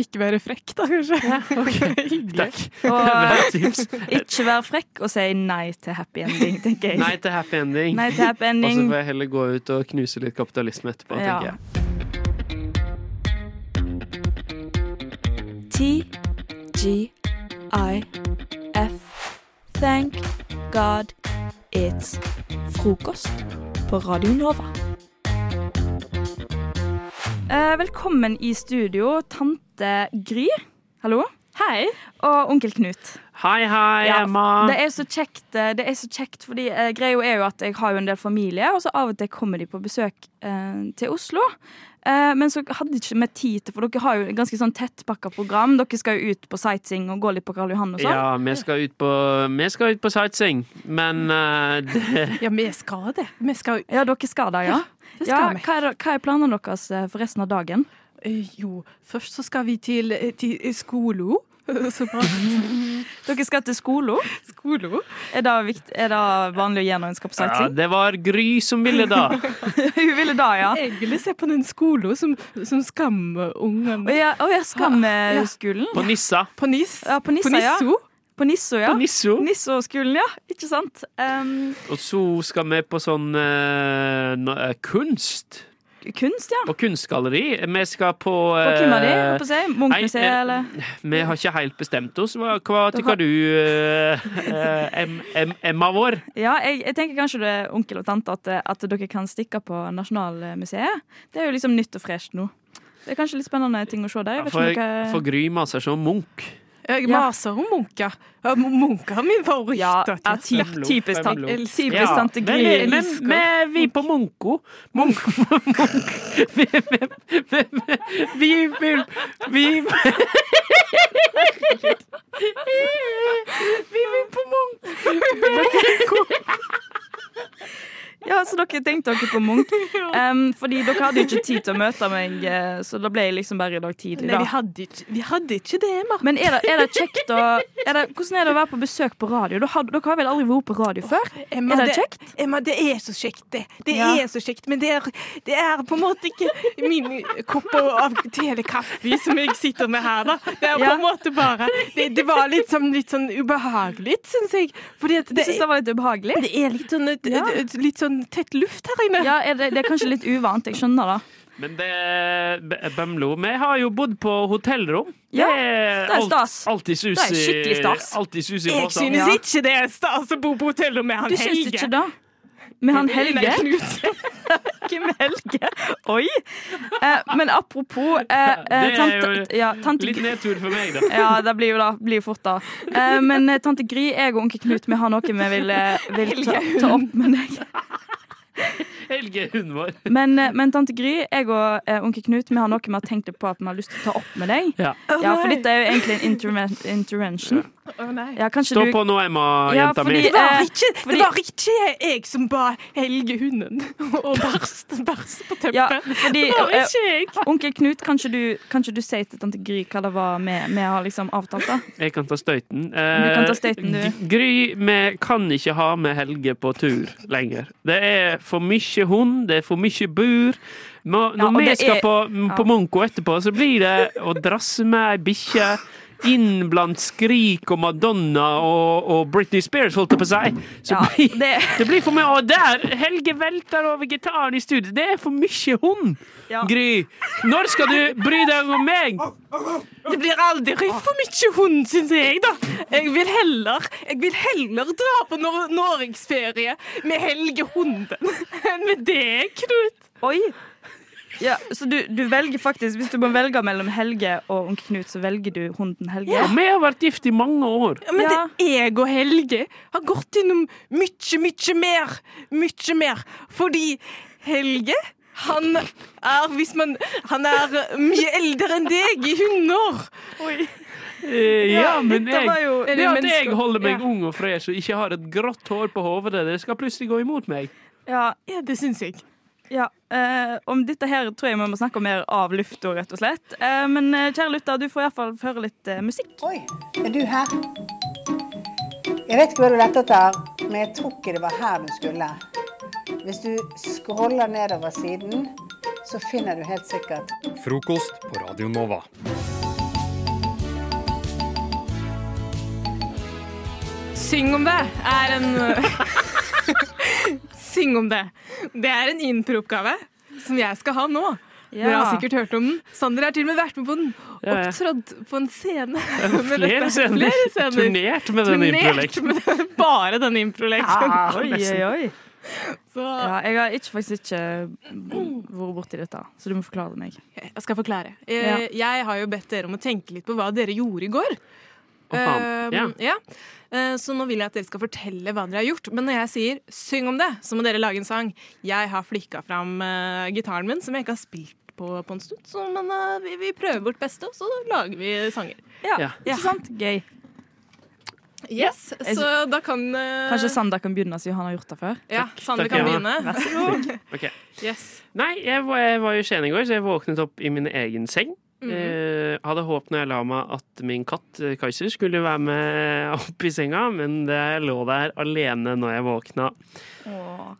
[SPEAKER 9] ikke være frekk, da, kanskje.
[SPEAKER 13] Takk. Bra
[SPEAKER 10] Og
[SPEAKER 13] tips.
[SPEAKER 10] ikke vær frekk og si nei til happy ending, tenker jeg.
[SPEAKER 13] Nei til happy ending.
[SPEAKER 10] Nei til happy ending.
[SPEAKER 13] Og så får jeg heller gå ut og knuse litt kapitalisme etterpå,
[SPEAKER 10] Ja.
[SPEAKER 13] tenker jeg.
[SPEAKER 10] T-G-I-F. Thank God it's frokost på Radio Nova. Eh, velkommen i studio, tante Gry. Hallo. Hei. Og onkel Knut.
[SPEAKER 13] Hei, hei,
[SPEAKER 10] Ja,
[SPEAKER 13] Emma.
[SPEAKER 10] Det er så kjekt, eh, det er så kjekt fordi eh, greia er jo at jeg har jo en del familie, og så av og til kommer de på besøk eh, til Oslo. Eh, men så hadde ikke vi tid til, for dere har jo et ganske sånn tettpakka program. Dere skal jo ut på sightseeing og gå litt på Karl Johan og sånn.
[SPEAKER 13] Ja, vi skal ut på, vi skal ut på sightseeing, men eh, det,
[SPEAKER 10] Ja, vi skal det. Ja, dere skal det, ja.
[SPEAKER 14] Ja, det skal
[SPEAKER 10] ja
[SPEAKER 14] vi.
[SPEAKER 10] hva, er, hva er planene deres eh, for resten av dagen?
[SPEAKER 14] Eh, Jo, først så skal vi til, eh, til eh, skolo. Så bra.
[SPEAKER 10] Dere skal til skolo.
[SPEAKER 9] Skolo?
[SPEAKER 10] Er det, vikt, er det vanlig å gjøre når en skal på
[SPEAKER 13] ja,
[SPEAKER 10] sightseeing?
[SPEAKER 13] det var Gry som ville da.
[SPEAKER 10] Hun ville det, ja.
[SPEAKER 9] Egentlig se på den skolen som, som skammer
[SPEAKER 10] Å
[SPEAKER 9] ungene.
[SPEAKER 10] ja, å ja, skammeskolen.
[SPEAKER 13] På Nissa.
[SPEAKER 10] På Nis. Ja, på Nissa,
[SPEAKER 9] På Nisso?
[SPEAKER 10] ja. På Nisso, ja.
[SPEAKER 13] På Nisso.
[SPEAKER 10] Nisso-skolen, ja. Ikke sant? Um,
[SPEAKER 13] Og så skal vi på sånn eh, no- eh, kunst.
[SPEAKER 10] kunst, ja.
[SPEAKER 13] På kunstgalleri. Vi skal på
[SPEAKER 10] På
[SPEAKER 13] eh,
[SPEAKER 10] Kimma di, holdt på å si.
[SPEAKER 13] nei,
[SPEAKER 10] Munchmuseet,
[SPEAKER 13] eh,
[SPEAKER 10] eller
[SPEAKER 13] Vi har ikke helt bestemt oss. Hva, hva tykker du, eh, eh, em, em, Emma vår?
[SPEAKER 10] Ja, jeg, jeg tenker kanskje det er onkel og tante at, eh, at dere kan stikke på Nasjonalmuseet. Det er jo liksom nytt og fresht nå. Det er kanskje litt spennende ting å se der. Jeg vet
[SPEAKER 13] For,
[SPEAKER 10] ikke om dere...
[SPEAKER 13] for Gry maser som sånn Munch.
[SPEAKER 9] Jeg Eh, maser om munker. Ja, Munker er min favoritt. Ja,
[SPEAKER 10] typisk tan- typisk
[SPEAKER 13] Ja,
[SPEAKER 10] tante
[SPEAKER 13] men-
[SPEAKER 10] Gry.
[SPEAKER 13] Men,
[SPEAKER 10] Elsker.
[SPEAKER 13] men vi på Munko Munko Vi vil Vi
[SPEAKER 10] Vi vil på Munch! Ja, så dere dere tenkte dere på Munch. Um, fordi dere hadde jo ikke tid til å møte meg, eh, så da ble jeg liksom bare i dag tidlig.
[SPEAKER 9] Nei,
[SPEAKER 10] Da.
[SPEAKER 9] vi hadde ikke, vi hadde ikke det, Marte.
[SPEAKER 10] Men er det, er det kjekt å er det, Hvordan er det å være på besøk på radio? Dere har, dere har vel aldri vært på radio før?
[SPEAKER 9] Emma,
[SPEAKER 10] Er det kjekt?
[SPEAKER 9] Emma, det er så kjekt, det. Det
[SPEAKER 10] Ja.
[SPEAKER 9] er så kjekt, men det er, det er på en måte ikke min kopp av telekaffe som jeg sitter med her, da. Det er på
[SPEAKER 10] Ja.
[SPEAKER 9] en måte bare Det, det var litt sånn, litt sånn ubehagelig, syns jeg. Fordi at
[SPEAKER 10] Du synes det var litt ubehagelig?
[SPEAKER 9] Det er litt sånn,
[SPEAKER 10] Ja.
[SPEAKER 9] litt sånn tett luft her inne.
[SPEAKER 10] Ja, er det, det er kanskje litt uvant. Jeg skjønner det.
[SPEAKER 13] Men det B- Bømlo Vi har jo bodd på hotellrom.
[SPEAKER 10] Ja,
[SPEAKER 13] er
[SPEAKER 10] det er
[SPEAKER 13] alt-
[SPEAKER 10] stas.
[SPEAKER 13] Alltid sus
[SPEAKER 10] Det er
[SPEAKER 13] i-
[SPEAKER 10] skikkelig stas.
[SPEAKER 13] Alltid sus i
[SPEAKER 9] Jeg
[SPEAKER 13] måsen.
[SPEAKER 9] synes ikke det er stas å bo på hotell med han
[SPEAKER 10] Du syns
[SPEAKER 9] Helge.
[SPEAKER 10] ikke det? Med han Helge?
[SPEAKER 9] Nei, Knut.
[SPEAKER 10] Hvem er Helge? Oi! Eh, men apropos eh, eh,
[SPEAKER 13] Det er
[SPEAKER 10] tante,
[SPEAKER 13] jo
[SPEAKER 10] ja, tante
[SPEAKER 13] litt
[SPEAKER 10] Gry-
[SPEAKER 13] nedtur for meg, da.
[SPEAKER 10] Ja, det blir jo da, blir jo fort da. Eh, men eh, tante Gry, jeg og onkel Knut, vi har noe vi vil, eh, vil ta,
[SPEAKER 13] Helge,
[SPEAKER 10] ta opp med deg.
[SPEAKER 13] Helge, hunden vår.
[SPEAKER 10] Men, eh, men tante Gry, jeg og eh, onkel Knut, vi har noe vi har tenkt på at vi har lyst til å ta opp med deg.
[SPEAKER 13] Ja.
[SPEAKER 10] Ja, for dette er jo egentlig en interven intervention. Ja, kanskje
[SPEAKER 13] Stå
[SPEAKER 10] du-
[SPEAKER 13] på nå, Emma,
[SPEAKER 10] Ja,
[SPEAKER 13] jenta
[SPEAKER 10] fordi,
[SPEAKER 13] mi.
[SPEAKER 9] Det var,
[SPEAKER 10] eh,
[SPEAKER 9] ikke,
[SPEAKER 10] fordi-
[SPEAKER 9] det var ikke jeg som ba Helge hunden å bæsje bæsje på teppet.
[SPEAKER 10] Ja, fordi,
[SPEAKER 9] det var
[SPEAKER 10] eh,
[SPEAKER 9] ikke jeg.
[SPEAKER 10] Onkel Knut, kan ikke du, kan ikke du si til tante Gry hva det var vi, vi har liksom avtalt? da?
[SPEAKER 13] Jeg kan ta støyten.
[SPEAKER 10] Du kan ta støyten, du.
[SPEAKER 13] Eh, G- Gry, vi kan ikke ha med Helge på tur lenger. Det er for mye hund, det er for mye bur. Nå-
[SPEAKER 10] Ja,
[SPEAKER 13] Når
[SPEAKER 10] og
[SPEAKER 13] vi
[SPEAKER 10] det
[SPEAKER 13] skal
[SPEAKER 10] er-
[SPEAKER 13] på,
[SPEAKER 10] ja.
[SPEAKER 13] på Munko etterpå, så blir det å drasse med ei bikkje inn blant skrik og Madonna og, og Britney Spears, holdt jeg på å si. Så blir, det... blir for mye. Og der! Helge velter over gitaren i studio. Det er for mye hund, Gry. Når skal du bry deg om meg?
[SPEAKER 9] Det blir aldri for mye hund, syns jeg, da. Jeg vil heller, jeg vil heller dra på nor norgesferie med Helge Hunden enn med deg, Knut.
[SPEAKER 10] Oi! Ja, så du, du velger faktisk, Hvis du må velge mellom Helge og onkel Knut, så velger du hunden Helge?
[SPEAKER 13] Ja, vi har vært gift i mange år.
[SPEAKER 9] Ja, men det jeg og Helge har gått gjennom mye, mye mer. Mye mer. Fordi Helge, han er hvis man Han er mye eldre enn deg i hundeår.
[SPEAKER 13] Eh, ja,
[SPEAKER 9] Ja,
[SPEAKER 13] men
[SPEAKER 9] dette
[SPEAKER 13] jeg,
[SPEAKER 9] var jo-
[SPEAKER 13] det
[SPEAKER 9] Eller
[SPEAKER 13] at jeg
[SPEAKER 9] mennesker.
[SPEAKER 13] holder meg
[SPEAKER 9] Ja.
[SPEAKER 13] ung og fresh og ikke har et grått hår på hodet, det skal plutselig gå imot meg.
[SPEAKER 10] Ja,
[SPEAKER 9] det syns jeg.
[SPEAKER 10] Ja, eh, Om dette her tror jeg vi må snakke om mer av lufta, rett og slett. Eh, men eh, kjære lytter, du får iallfall høre litt eh, musikk. Oi,
[SPEAKER 27] Er du her? Jeg vet ikke hva du lette etter, men jeg tror ikke det var her du skulle. Hvis du scroller nedover siden, så finner du helt sikkert
[SPEAKER 15] Frokost på Radio Nova.
[SPEAKER 11] Syng om det er en Syng om det. Det er en impro-oppgave som jeg skal ha nå.
[SPEAKER 9] Ja.
[SPEAKER 11] Dere har sikkert hørt om den. Sander har til og med vært med på den.
[SPEAKER 13] Ja, ja.
[SPEAKER 11] Opptrådt på en scene. med
[SPEAKER 13] flere
[SPEAKER 11] dette.
[SPEAKER 13] scener.
[SPEAKER 11] Flere scener.
[SPEAKER 13] Turnert med denne
[SPEAKER 11] Turnert
[SPEAKER 13] improleken.
[SPEAKER 11] med den- Bare denne improleken.
[SPEAKER 10] oi, oi, oi.
[SPEAKER 11] Så-
[SPEAKER 10] Ja, jeg har ikke, faktisk ikke vært borti dette, så du må forklare det meg.
[SPEAKER 11] Jeg skal forklare.
[SPEAKER 10] Ja.
[SPEAKER 11] Eh, Jeg har jo bedt dere om å tenke litt på hva dere gjorde i går.
[SPEAKER 10] Å, faen.
[SPEAKER 11] Eh, ja. Eh, Så nå vil jeg at dere skal fortelle hva dere har gjort. Men når jeg sier 'syng om det', så må dere lage en sang. Jeg har flikka fram eh, gitaren min, som jeg ikke har spilt på på en stund. Så, men eh, vi, vi prøver vårt beste, og så lager vi sanger.
[SPEAKER 10] Ja, ikke sant? Gøy.
[SPEAKER 11] Yes, Så da kan eh,
[SPEAKER 10] Kanskje Sander kan begynne siden han har gjort det før?
[SPEAKER 11] Ja, Sander
[SPEAKER 13] Takk,
[SPEAKER 11] kan
[SPEAKER 13] Emma.
[SPEAKER 11] begynne. Vær så god.
[SPEAKER 13] Ok.
[SPEAKER 11] Yes.
[SPEAKER 13] Nei, jeg var, jeg var jo i Skien i går, så jeg våknet opp i min egen seng.
[SPEAKER 11] Mhm.
[SPEAKER 13] Eh, hadde håpet når jeg la meg at min katt eh, Kaiser skulle være med opp i senga, men det lå der alene når jeg våkna.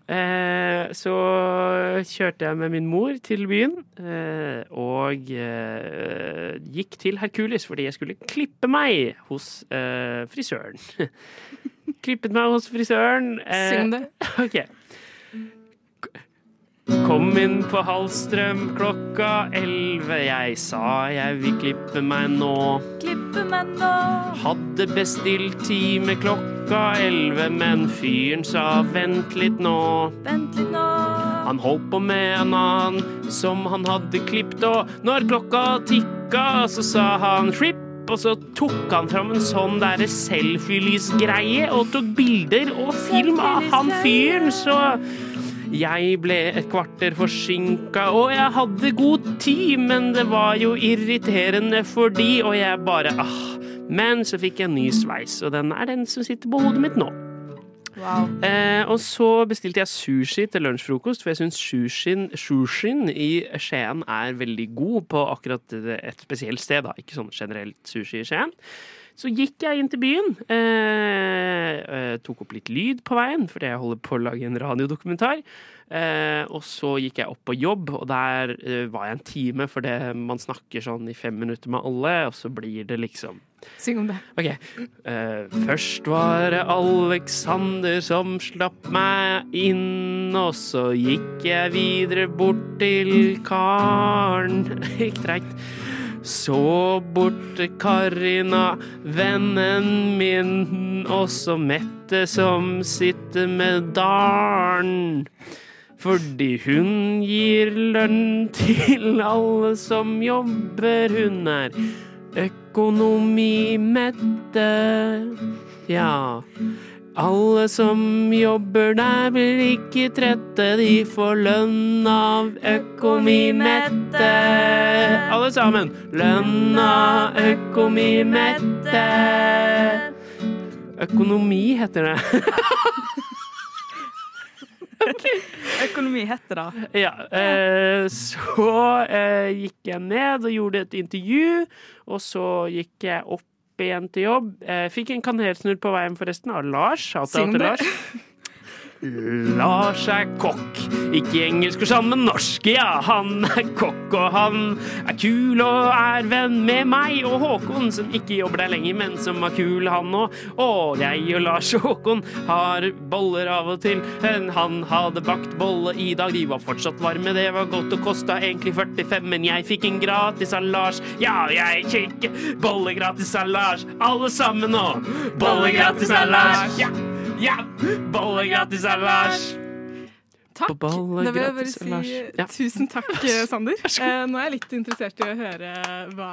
[SPEAKER 13] Eh, så kjørte jeg med min mor til byen, eh, og eh, gikk til Herkules fordi jeg skulle klippe meg hos eh, frisøren. Klippet meg hos frisøren. eh,
[SPEAKER 11] Syng det.
[SPEAKER 13] Ok. Kom inn på Hallstrøm klokka elleve. Jeg sa jeg vil klippe meg nå.
[SPEAKER 10] Klippe meg nå.
[SPEAKER 13] Hadde bestilt time klokka elleve, men fyren sa vent litt nå.
[SPEAKER 10] Vent litt nå.
[SPEAKER 13] Han holdt på med en annen som han hadde klippet, og når klokka tikka, så sa han slipp. Og så tok han fram en sånn derre selfielysgreie og tok bilder og film av han fyren, så jeg ble et kvarter forsinka, og jeg hadde god tid, men det var jo irriterende fordi, og jeg bare ah. Men så fikk jeg en ny sveis, og den er den som sitter på hodet mitt nå.
[SPEAKER 16] Wow.
[SPEAKER 13] Eh, og så bestilte jeg sushi til lunsjfrokost, for jeg syns sushien, sushien i Skien er veldig god på akkurat et spesielt sted, da. Ikke sånn generelt sushi i Skien. Så gikk jeg inn til byen, eh, eh, tok opp litt lyd på veien, fordi jeg holder på å lage en radiodokumentar. Eh, og så gikk jeg opp på jobb, og der eh, var jeg en time, for det, man snakker sånn i fem minutter med alle, og så blir det liksom
[SPEAKER 9] Syng om det.
[SPEAKER 13] Ok. Eh, først var det Alexander som slapp meg inn, og så gikk jeg videre bort til Karen. Gikk treigt. Så bort til Karina, vennen min, og så Mette som sitter med dalen. Fordi hun gir lønn til alle som jobber, hun er økonomimette. Ja. Alle som jobber der blir ikke trette, de får lønn av økonomimette. Alle sammen. Lønn av økonomimette. Økonomi heter det.
[SPEAKER 10] Økonomi heter det.
[SPEAKER 13] Ja, eh, så eh, gikk jeg ned og gjorde et intervju, og så gikk jeg opp igjen til jobb. Eh, fikk en kanelsnurr på veien forresten av Lars. Shout-out
[SPEAKER 9] Syng
[SPEAKER 13] til
[SPEAKER 9] det.
[SPEAKER 13] Lars. Lars er kokk, ikke engelsk for sammen, norsk, ja. Han er kokk, og han er kul og er venn med meg og Håkon, som ikke jobber der lenger, men som var kul, han òg. Og jeg og Lars og Håkon har boller av og til. Men Han hadde bakt bolle i dag, de var fortsatt varme, det var godt og kosta egentlig 45, men jeg fikk en gratis av Lars. Ja, jeg fikk bolle gratis av Lars, alle sammen nå. Bolle gratis av Lars. Ja. Ja! Bolle gratis av Lars.
[SPEAKER 9] Takk.
[SPEAKER 13] Bolle
[SPEAKER 9] Da vil jeg bare
[SPEAKER 13] gratis av
[SPEAKER 9] si
[SPEAKER 13] Lars.
[SPEAKER 9] eh,
[SPEAKER 13] Ja.
[SPEAKER 9] tusen takk, eh, Sander. Eh, nå er jeg litt interessert i å høre hva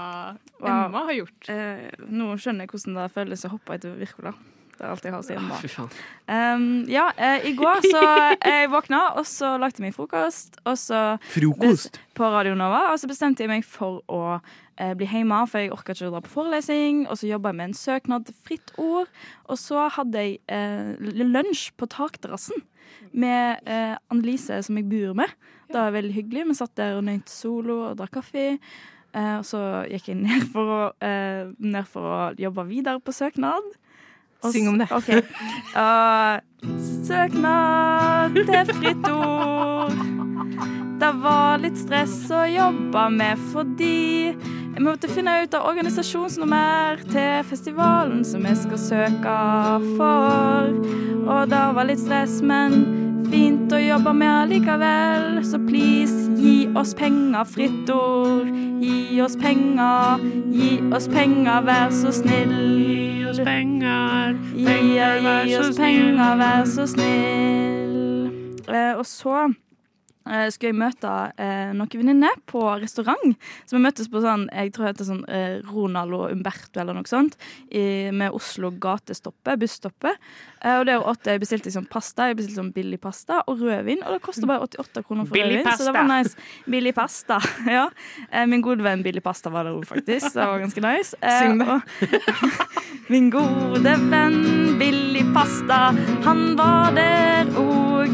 [SPEAKER 9] Emma har gjort.
[SPEAKER 10] Eh, nå skjønner jeg hvordan det føles å hoppe etter Wirkola. Det er alt jeg har å si om
[SPEAKER 13] Fy
[SPEAKER 10] det.
[SPEAKER 13] faen.
[SPEAKER 10] Um, ja, eh, i går så jeg våkna, og så lagde jeg meg frokost. Og så
[SPEAKER 13] Frokost?
[SPEAKER 10] bes- På Radio Nova. Og så bestemte jeg meg for å eh, bli hjemme, for jeg orka ikke å dra på forelesning. Og så jobba jeg med en søknad til Fritt Ord. Og så hadde jeg eh, l- lunsj på takterrassen med eh, Annelise, som jeg bor med. Det var veldig hyggelig. Vi satt der og nøt solo og drakk kaffe. Eh, og så gikk jeg ned for, å, eh, ned for å jobbe videre på søknad. Og s-
[SPEAKER 9] Syng om det.
[SPEAKER 10] OK. Eh, søknad til fritt ord. Det var litt stress å jobbe med fordi jeg måtte finne ut av organisasjonsnummer til festivalen som jeg skal søke for. Og det var litt stress, men fint å jobbe med likevel. Så please, gi oss penger, fritt ord. Gi oss penger, gi oss penger, vær så snill. Gi
[SPEAKER 13] oss penger,
[SPEAKER 10] penger,
[SPEAKER 13] vær
[SPEAKER 10] gi
[SPEAKER 13] så
[SPEAKER 10] oss
[SPEAKER 13] snill.
[SPEAKER 10] penger, vær så snill. Eh, og så eh, skulle jeg møte eh, noen venninner på restaurant. Så vi møttes på sånn, jeg tror det heter sånn eh, Ronald og Umberto eller noe sånt, i, med Oslo gatestoppet, busstoppet. Eh, og der åt jeg bestilte jeg sånn pasta, jeg bestilte sånn billig pasta og rødvin, og det koster bare 88 kroner for
[SPEAKER 11] Billig
[SPEAKER 10] rødvin, så det var
[SPEAKER 11] pasta.
[SPEAKER 10] nice. Billig pasta, ja. Eh, min gode venn Billig Pasta var der også, faktisk, så det var ganske nice. Eh,
[SPEAKER 11] Syng
[SPEAKER 10] det. Min gode venn Billy Pasta, han var der òg.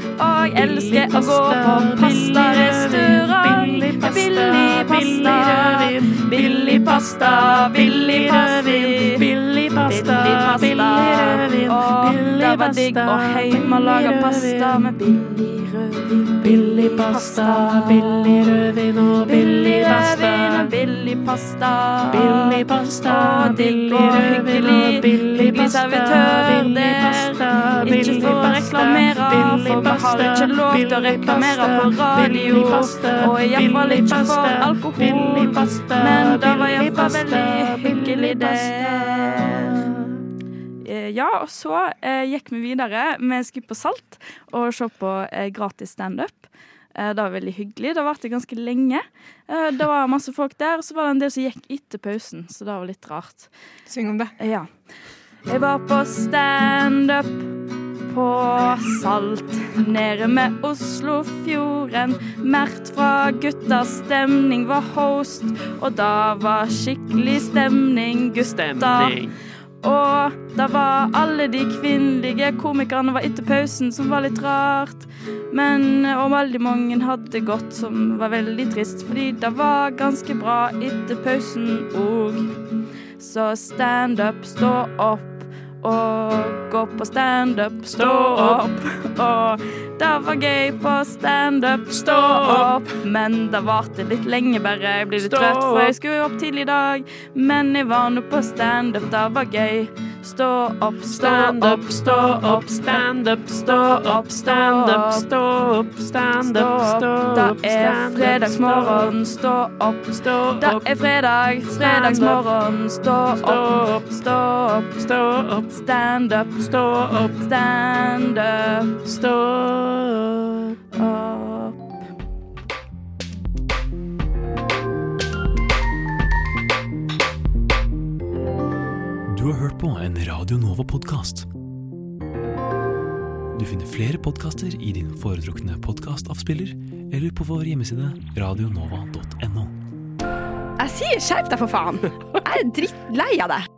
[SPEAKER 10] Og jeg elsker å gå på pastarestaurant. Billy Pasta, Billy Pasta, Billy Pasta. Billy pasta, billig rødvin. Åh, det var digg å heim og lage pasta med billig rødvin. Mm. Billig pasta, billig rødvin og billig pasta. Billig pasta, billig pasta. Åh, digg og hyggelig. Hyggelig servitør der. Ikke for å reklamere, for vi har ikke lov til å reklamere på radio. Og iallfall ikke for alkohol. Men det var iallfall veldig hyggelig, det. Eh, Ja, og så eh, gikk vi videre. Vi skulle på Salt og se på eh, gratis standup. Eh, det var veldig hyggelig. Det varte ganske lenge. Eh, det var masse folk der, og så var det en del som gikk etter pausen, så det var litt rart.
[SPEAKER 9] Syng om det.
[SPEAKER 10] Ja. Jeg var på standup på salt. Nede med Oslofjorden. Mert fra Guttas stemning var host, og da var skikkelig stemning, gutta.
[SPEAKER 4] Stemning.
[SPEAKER 10] Og da var alle de kvinnelige komikerne var etter pausen, som var litt rart. Men eh, og veldig mange hadde det godt, som var veldig trist, fordi det var ganske bra etter pausen òg. Så standup, stå opp. Og gå på standup, stå opp. Og det var gøy på standup, stå opp. Men det varte litt lenge, bare. Jeg blir litt
[SPEAKER 8] Stå
[SPEAKER 10] trøtt, for
[SPEAKER 8] opp.
[SPEAKER 10] jeg skulle jo opp tidlig i dag. Men jeg var nå på standup, det var gøy. Stå opp, stå opp, stå opp, standup, stå opp, standup, stå opp, standup, stå opp. Det er
[SPEAKER 4] standup,
[SPEAKER 10] fredagsmorgen, stå opp, stå opp. Det er fredag, fredagsmorgen, stå opp, stå opp, stå opp. Standup, stå opp, standup, stå opp.
[SPEAKER 13] Du har hørt på en Radio Nova-podkast. Du finner flere podkaster i din foretrukne podkastavspiller eller på vår hjemmeside radionova.no.
[SPEAKER 14] Jeg sier skjerp deg, for faen! Jeg er drittlei av deg.